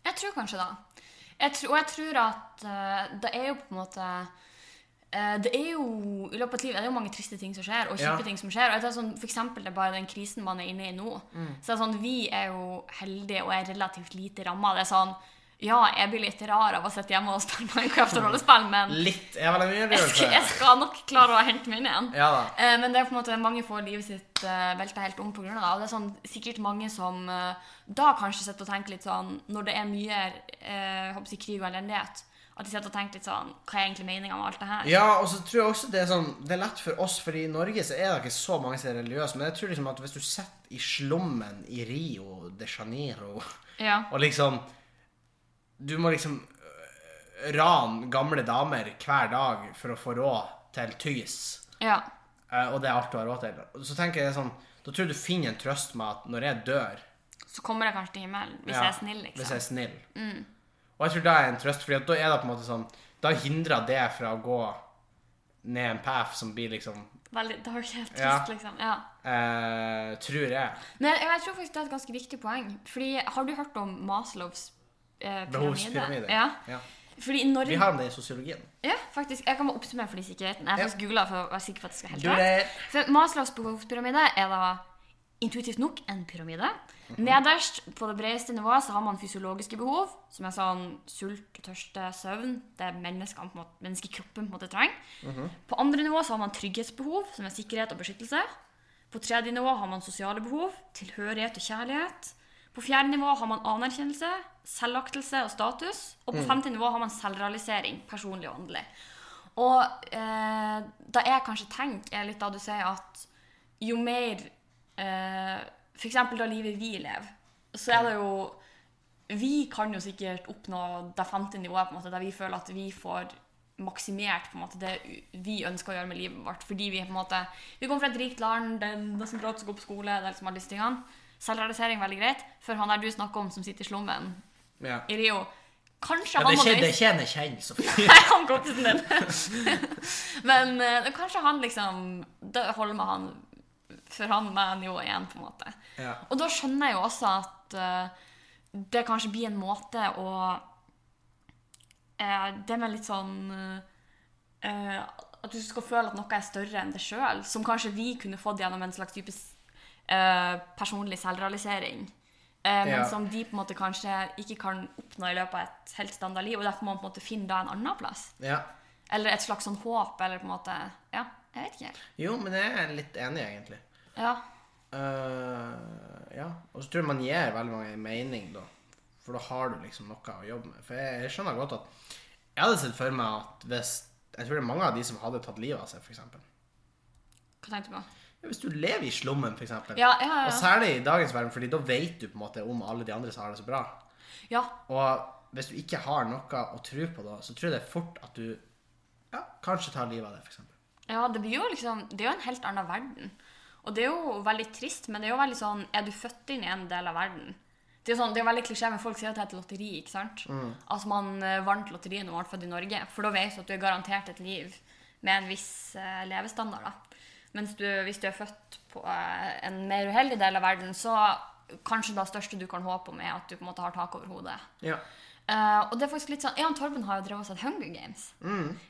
[SPEAKER 2] Jeg tror kanskje det. Jeg tr- og jeg tror at eh, det er jo på en måte eh, det er jo, I løpet av et liv er det jo mange triste ting som skjer, og kjipe
[SPEAKER 1] Ja.
[SPEAKER 2] ting som skjer. og jeg tror sånn, For eksempel det er bare den krisen man er inne i nå. Så det er sånn, Vi er jo heldige og er relativt lite ramma. Det er sånn Ja, jeg blir litt rar av å sitte hjemme og spille Minecraft og rollespill, men
[SPEAKER 1] Litt er vel en
[SPEAKER 2] jeg skal, jeg
[SPEAKER 1] underdrivelse?
[SPEAKER 2] skal nok klare å hente meg inn igjen.
[SPEAKER 1] Ja da.
[SPEAKER 2] Eh, Men det er på en måte mange får livet sitt eh, velta helt om pga. det. Og det er sånn, sikkert mange som eh, da kanskje sitter og tenker litt sånn Når det er mye eh, håper jeg, krig og elendighet, at de sitter og tenker litt sånn Hva er egentlig meninga med alt det her?
[SPEAKER 1] Ja, og så tror jeg også det er sånn Det er lett for oss, for i Norge så er det ikke så mange som er religiøse, men jeg tror liksom at hvis du sitter i slummen i Rio de Janeiro
[SPEAKER 2] Ja.
[SPEAKER 1] og liksom Du må liksom øh, rane gamle damer hver dag for å få råd til tys,
[SPEAKER 2] ja.
[SPEAKER 1] eh, og det er alt du har råd til. Og Så tenker jeg sånn Da tror jeg du finner en trøst med at når jeg dør
[SPEAKER 2] Så kommer det kanskje til himmelen, hvis
[SPEAKER 1] ja,
[SPEAKER 2] jeg er snill,
[SPEAKER 1] Hvis
[SPEAKER 2] liksom.
[SPEAKER 1] jeg er snill. Og jeg tror det er en trøst, Fordi at da er det på en måte sånn Da hindrer det fra å gå ned en path som blir liksom
[SPEAKER 2] Veldig, det har ikke helt
[SPEAKER 1] Ja.
[SPEAKER 2] trist, liksom. Ja.
[SPEAKER 1] Eh, tror jeg.
[SPEAKER 2] Men jeg, jeg tror faktisk det er et ganske viktig poeng. Fordi har du hørt om Maslows eh,
[SPEAKER 1] Behovspyramide.
[SPEAKER 2] pyramide? Ja. Fordi i
[SPEAKER 1] Vi
[SPEAKER 2] Norge
[SPEAKER 1] har om det i sosiologien.
[SPEAKER 2] Ja, faktisk. Jeg kan bare oppsummere for de sikkerheten. Jeg har
[SPEAKER 1] Ja.
[SPEAKER 2] faktisk googlet for å være sikker på at det skal helt
[SPEAKER 1] Do
[SPEAKER 2] rett.
[SPEAKER 1] that.
[SPEAKER 2] For Maslows behovspyramide er da intuitivt nok en pyramide. Nederst på det bredeste nivået så har man fysiologiske behov, som er sånn sult, tørste, søvn. Det er menneskene på en måte, menneskekroppen på en måte trenger. På andre nivå så har man trygghetsbehov, som er sikkerhet og beskyttelse. På tredje nivå har man sosiale behov, tilhørighet og kjærlighet. På fjerde nivå har man anerkjennelse, selvaktelse og status. Og på femte nivå har man selvrealisering, personlig og åndelig. Og eh, da jeg kanskje tenker, er litt da du sier at jo mer eh, For eksempel da livet vi lever, så er det jo Vi kan jo sikkert oppnå det femte nivået, på en måte, der vi føler at vi får maksimert på en måte, det vi ønsker å gjøre med livet vårt. Fordi vi på en måte, vi kommer fra et rikt land, det er nesten gratis å gå på skole, det er liksom alle disse tingene. Selvrealisering er veldig greit. For han der du snakker om, som sitter i slummen
[SPEAKER 1] Ja.
[SPEAKER 2] i Rio Kanskje
[SPEAKER 1] Ja,
[SPEAKER 2] han
[SPEAKER 1] det
[SPEAKER 2] må
[SPEAKER 1] kjenner
[SPEAKER 2] nøye
[SPEAKER 1] jeg kjenner, kjenner, Sofie.
[SPEAKER 2] Nei, han kompisen din. Men eh, kanskje han liksom Det holder med han for han med nivå 1, på en måte.
[SPEAKER 1] Ja.
[SPEAKER 2] Og da skjønner jeg jo også at eh, det kanskje blir en måte å eh, Det med litt sånn eh, At du skal føle at noe er større enn deg sjøl, som kanskje vi kunne fått gjennom en slags type s- eh, personlig selvrealisering. Eh, men
[SPEAKER 1] Ja.
[SPEAKER 2] som de på en måte kanskje ikke kan oppnå i løpet av et helt standard liv. Og derfor må man på en måte finne da en annen plass.
[SPEAKER 1] Ja.
[SPEAKER 2] Eller et slags sånn håp. Eller på en måte Ja, jeg vet ikke helt.
[SPEAKER 1] Jo, men jeg er litt enig, egentlig.
[SPEAKER 2] Ja.
[SPEAKER 1] Eh, ja. Og så tror jeg man gir veldig mange mening, da. For da har du liksom noe å jobbe med. For jeg, jeg skjønner godt at Jeg hadde sett for meg at hvis Jeg tror det er mange av de som hadde tatt livet av seg, f.eks.
[SPEAKER 2] Hva tenkte du på?
[SPEAKER 1] Ja, hvis du lever i slummen, f.eks.
[SPEAKER 2] Ja, ja, ja,
[SPEAKER 1] Og
[SPEAKER 2] ja.
[SPEAKER 1] særlig i dagens verden, fordi da vet du på en måte om alle de andre som har det så bra.
[SPEAKER 2] ja.
[SPEAKER 1] Og hvis du ikke har noe å tro på da, så tror jeg det er fort at du ja, kanskje tar livet av deg, f.eks.
[SPEAKER 2] Ja, det blir jo liksom Det er jo en helt annen verden. Og det er jo veldig trist, men det er jo veldig sånn Er du født inn i en del av verden? Det er jo sånn, det er jo veldig klisjé, men folk sier at det heter lotteri, ikke sant? Altså man eh, vant lotteriet når man var født i Norge, for da vet du at du er garantert et liv med en viss eh, levestandard, da. Mens du, hvis du er født på eh, en mer uheldig del av verden, så kanskje det største du kan håpe om, er at du på en måte har tak over hodet.
[SPEAKER 1] Ja.
[SPEAKER 2] Eh, og det er faktisk litt sånn, Jeg og Torben har jo drevet oss et Hunger Games.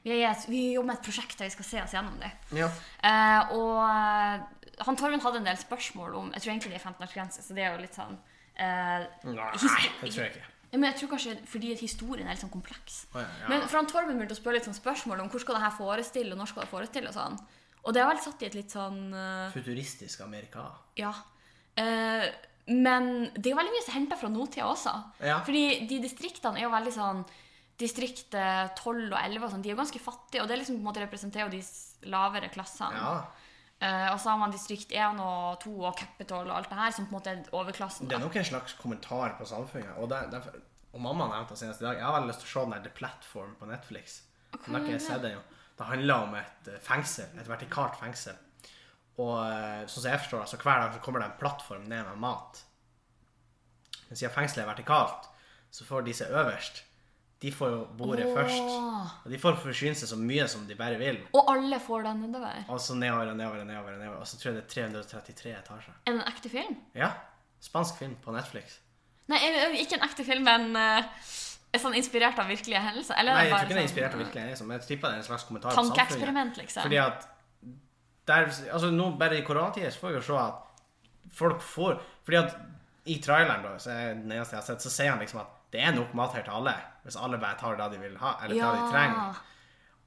[SPEAKER 2] Vi, er, i et- vi jobber med et prosjekt der vi skal se oss gjennom det.
[SPEAKER 1] ja.
[SPEAKER 2] Eh, og eh, han Torben hadde en del spørsmål om Jeg tror egentlig det er 15-årsgrense, så det er jo litt sånn eh,
[SPEAKER 1] Nei,
[SPEAKER 2] histor-
[SPEAKER 1] det tror jeg ikke.
[SPEAKER 2] Ja, Men jeg tror kanskje fordi at historien er litt sånn kompleks.
[SPEAKER 1] Å, ja, ja.
[SPEAKER 2] Men for han Torben begynte å spørre litt sånn spørsmål om hvor skal det her forestille, og når skal det forestille, og sånn. Og det er vel satt i et litt sånn eh,
[SPEAKER 1] Futuristisk Amerika.
[SPEAKER 2] ja. Eh, men det er jo veldig mye som er henta fra nåtida også.
[SPEAKER 1] Ja.
[SPEAKER 2] Fordi de distriktene er jo veldig sånn Distrikt eh, 12 og 11 og sånn, de er jo ganske fattige, og det er liksom på en måte representerer jo de s- lavere klassene.
[SPEAKER 1] Ja.
[SPEAKER 2] Eh, og så har man distrikt 1 og 2 og Capitol og alt det her, som på en måte er overklassen.
[SPEAKER 1] Det
[SPEAKER 2] Da.
[SPEAKER 1] er nok en slags kommentar på samfunnet. Og, der, derfor, og mamma nevnte det senest i dag. Jeg har veldig lyst til å se den der The Platform på Netflix. Men har ikke jeg sett den, jo. Det handler om et eh, fengsel. Et vertikalt fengsel. Og eh, sånn som jeg forstår det, så hver dag så kommer det en plattform ned med mat. Men siden fengselet er vertikalt, så får de seg øverst. De får jo bordet
[SPEAKER 2] Åh.
[SPEAKER 1] først. Og de får forsyne seg så mye som de bare vil.
[SPEAKER 2] Og alle får den nedover.
[SPEAKER 1] Og så nedover og nedover og nedover. Og nedover. Og så tror jeg det er 333 etasjer.
[SPEAKER 2] Er det en ekte film?
[SPEAKER 1] Ja. Spansk film på Netflix.
[SPEAKER 2] Nei, eh, ikke en ekte film, men eh, er sånn inspirert av virkelige hendelser. Eller
[SPEAKER 1] Nei,
[SPEAKER 2] er det
[SPEAKER 1] jeg tror
[SPEAKER 2] bare
[SPEAKER 1] ikke den er
[SPEAKER 2] sånn,
[SPEAKER 1] inspirert av virkeligheten. Liksom. Jeg tipper det er en slags kommentar på samfunnet.
[SPEAKER 2] Tankeeksperiment, liksom.
[SPEAKER 1] Fordi at der, altså nå Bare i koronatida så får vi jo se at folk får Fordi at i traileren, da, så er den eneste jeg har sett, så sier han liksom at det er nok mat her til alle. Hvis alle bare tar det de vil ha, eller det de trenger.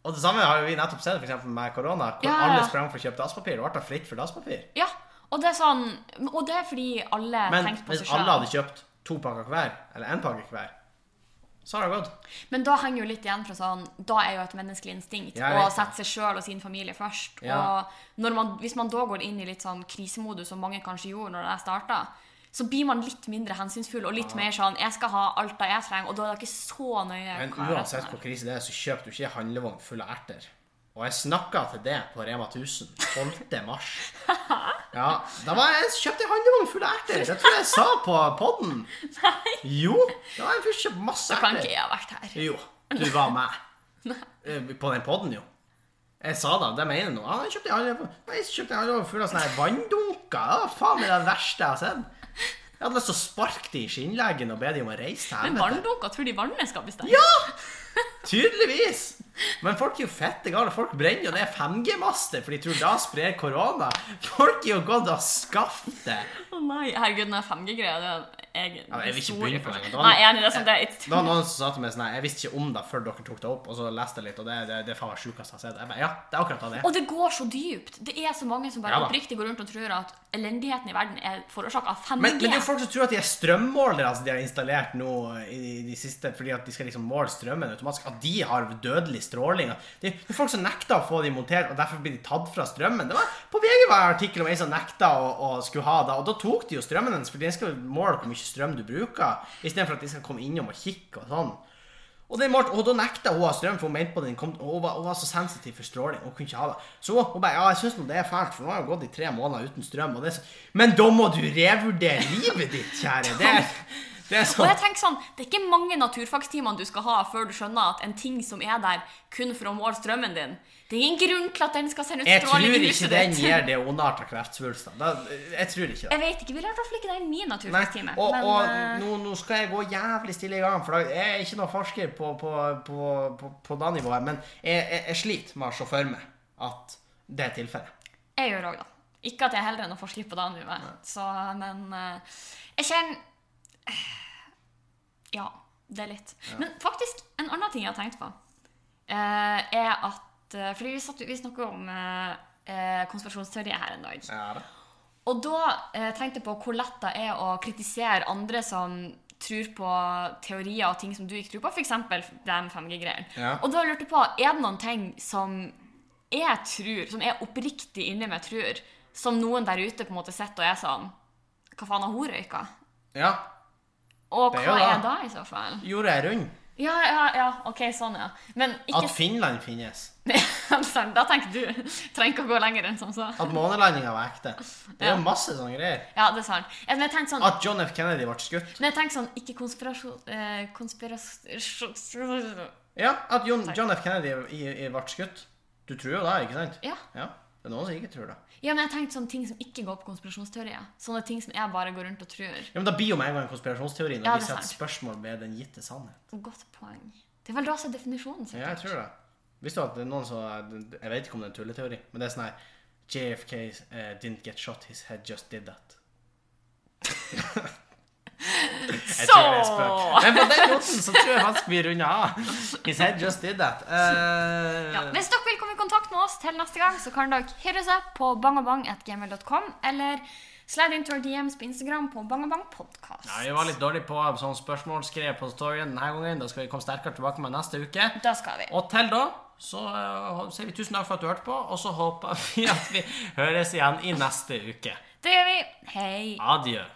[SPEAKER 1] Og det samme har jo vi nettopp sett for eksempel med korona, hvor
[SPEAKER 2] Ja, ja.
[SPEAKER 1] alle sprang for å kjøpe dasspapir. Og ble fritt for dasspapir.
[SPEAKER 2] Ja, og det er sånn Og det er fordi alle
[SPEAKER 1] Men
[SPEAKER 2] tenkte på
[SPEAKER 1] hvis
[SPEAKER 2] seg
[SPEAKER 1] alle
[SPEAKER 2] sjøl.
[SPEAKER 1] hadde kjøpt to pakker hver, eller én pakke hver, så har det gått.
[SPEAKER 2] Men da henger jo litt igjen fra sånn Da er jo et menneskelig instinkt
[SPEAKER 1] Ja, jeg
[SPEAKER 2] å
[SPEAKER 1] vet det.
[SPEAKER 2] sette seg sjøl og sin familie først.
[SPEAKER 1] Ja.
[SPEAKER 2] Og når man, hvis man da går inn i litt sånn krisemodus, som mange kanskje gjorde når det starta, så blir man litt mindre hensynsfull og litt mer sånn 'Jeg skal ha alt det jeg trenger', og da er det ikke så nøye
[SPEAKER 1] Men
[SPEAKER 2] hva jeg
[SPEAKER 1] uansett
[SPEAKER 2] resten
[SPEAKER 1] hvor
[SPEAKER 2] er.
[SPEAKER 1] krise det er, så kjøper du ikke en handlevogn full av erter. Og jeg snakka til det på Rema 1000 12. mars. Ja, da var jeg kjøpte en handlevogn full av erter. Det tror jeg jeg sa på podden. Jo, da var jeg først kjøpt masse
[SPEAKER 2] Kan ikke
[SPEAKER 1] erter.
[SPEAKER 2] jeg ha vært her?
[SPEAKER 1] Jo, du var med. Eh, På den podden, jo. Jeg sa da, det mener jeg nå. Ja, jeg kjøpte en handlevogn Nei, jeg kjøpte en handlevogn full av sånne her vanndunker. Ja, faen, det er det verste jeg har sett. Jeg hadde lyst til å sparke de i skinnleggen og be de om å reise til
[SPEAKER 2] Men
[SPEAKER 1] helvete.
[SPEAKER 2] vanndunker tror de vannet skal bestemme.
[SPEAKER 1] Ja! Tydeligvis! Men folk er jo fette gale. Folk brenner jo ned 5G-master, for de tror da sprer korona. Folk er jo gått og skaffet det.
[SPEAKER 2] Å nei, herregud, den 5G-greia, det er en egen
[SPEAKER 1] Ja, jeg vil ikke begynne på det engang.
[SPEAKER 2] Nei, jeg er enig, det er sånn det er
[SPEAKER 1] Det var noen som sa til meg sånn «Nei, Jeg visste ikke om det før dere tok det opp, og så leste jeg litt, og det, det, det er faen meg sjukeste jeg har sett. Jeg bare, ja, det er akkurat det det er.
[SPEAKER 2] Og det går så dypt. Det er så mange som bare
[SPEAKER 1] Ja da.
[SPEAKER 2] oppriktig går rundt og tror at elendigheten i verden er forårsaka av 5G.
[SPEAKER 1] Men, men det er jo folk som tror at de er strømmålere som de har installert nå eh, i de, de siste, fordi at de skal liksom måle strømmen automatisk, at de har dødelig stråling. Det er jo folk som nekter å få de montert, og derfor blir de tatt fra strømmen. Det var, på VG var det en artikkel om ei som nekta å, å skulle ha det, og da tok de jo strømmen hennes, for de skal jo måle hvor mye strøm du bruker, istedenfor at de skal komme innom og kikke og sånn. Og, det målte, og da nekta hun å ha strøm, for hun mente på den kom, og hun, var, hun var så sensitiv for stråling. Hun kunne ikke ha det. Så hun, hun bare Ja, jeg syns nå det er fælt, for nå har jeg gått i tre måneder uten strøm. Og det er så, men da må du revurdere livet ditt, kjære. Det er, det er
[SPEAKER 2] Og
[SPEAKER 1] sånn
[SPEAKER 2] jeg tenker sånn, Det er ikke mange naturfagstimene du skal ha før du skjønner at en ting som er der kun for å måle strømmen din Det er ingen grunn til at den skal sende ut
[SPEAKER 1] Jeg tror
[SPEAKER 2] stråling i
[SPEAKER 1] ikke
[SPEAKER 2] huset
[SPEAKER 1] den
[SPEAKER 2] ditt.
[SPEAKER 1] gir det ondarta kreftsvulster. Da- Jeg tror ikke det.
[SPEAKER 2] Jeg vet ikke. Vi lærte i hvert fall ikke det i min
[SPEAKER 1] Nei,
[SPEAKER 2] naturfagstime.
[SPEAKER 1] og,
[SPEAKER 2] men,
[SPEAKER 1] og
[SPEAKER 2] eh,
[SPEAKER 1] nå, nå skal jeg gå jævlig stille i gang, for da- jeg er ikke noen forsker på, på, på, på, på det nivået. Men jeg, jeg, jeg sliter med å se for meg at det er tilfellet.
[SPEAKER 2] jeg gjør òg, da. Ikke at jeg er heller enn å få slippe det andre med. Så, men eh, jeg kjenner Ja, det er litt. Men faktisk, en annen ting jeg har tenkt på, eh, er at eh, Fordi vi, satt- vi snakket om eh, eh, konspirasjonsteorier her en dag.
[SPEAKER 1] Ja da.
[SPEAKER 2] Og da eh, tenkte jeg på hvor lett det er å kritisere andre som tror på teorier og ting som du ikke tror på, f.eks. det med 5G-greier.
[SPEAKER 1] Ja.
[SPEAKER 2] Og da lurte jeg på, er det noen ting som jeg tror, som jeg oppriktig inni meg tror, som noen der ute på en måte sitter og er sånn Hva faen har hun røyka?
[SPEAKER 1] Ja.
[SPEAKER 2] Og
[SPEAKER 1] Det er
[SPEAKER 2] hva
[SPEAKER 1] jo
[SPEAKER 2] er
[SPEAKER 1] det.
[SPEAKER 2] det i så fall?
[SPEAKER 1] Gjorde jeg rund?
[SPEAKER 2] Ja, ja, ja, OK, sånn, ja. Men ikke
[SPEAKER 1] At Finland finnes.
[SPEAKER 2] sant, Da tenker du. Trenger ikke å gå lenger enn som så.
[SPEAKER 1] At månelandinga var ekte. Det er jo masse sånne greier.
[SPEAKER 2] Ja, det er sant. Eh, Men jeg tenkte sånn
[SPEAKER 1] At John F. Kennedy ble skutt.
[SPEAKER 2] Men jeg tenker sånn, ikke konspirasjon eh, Konspirasjon
[SPEAKER 1] Ja, at John, John F. Kennedy i, i ble skutt. Du tror jo det, ikke sant?
[SPEAKER 2] ja.
[SPEAKER 1] Ja. Det er noen som ikke tror det.
[SPEAKER 2] ja, men jeg tenkte sånne ting som ikke går på konspirasjonsteorier. Sånne ting som jeg bare går rundt og tror.
[SPEAKER 1] Ja, men Da blir jo med en gang en konspirasjonsteori når
[SPEAKER 2] Ja,
[SPEAKER 1] vi
[SPEAKER 2] det er
[SPEAKER 1] setter
[SPEAKER 2] sant.
[SPEAKER 1] spørsmål ved den gitte sannhet.
[SPEAKER 2] Godt poeng. Det er vel da som er definisjonen,
[SPEAKER 1] Ja, jeg
[SPEAKER 2] sikkert.
[SPEAKER 1] tror det. Visste du at det er noen som Jeg vet ikke om det er en tulleteori, men det er sånn her JFK eh, didn't get shot, his head just did that. Jeg tror det er spøk.
[SPEAKER 2] Så!
[SPEAKER 1] Men på den måten så tror jeg faktisk vi runder av. His head just did that. Eh,
[SPEAKER 2] Ja, hvis dere vil komme i kontakt med oss til neste gang, så kan dere høre oss opp på bangabang.gmail.com, eller slide into our DMs på Instagram på bangabangpodkast.
[SPEAKER 1] Ja, vi var litt dårlig på sånn spørsmålskrev på storyen denne gangen. Da skal vi komme sterkere tilbake med neste uke.
[SPEAKER 2] Da skal vi.
[SPEAKER 1] Og til da så eh, sier vi tusen takk for at du hørte på, og så håper vi at vi høres igjen i neste uke.
[SPEAKER 2] Det gjør vi. Hei.
[SPEAKER 1] Adjø.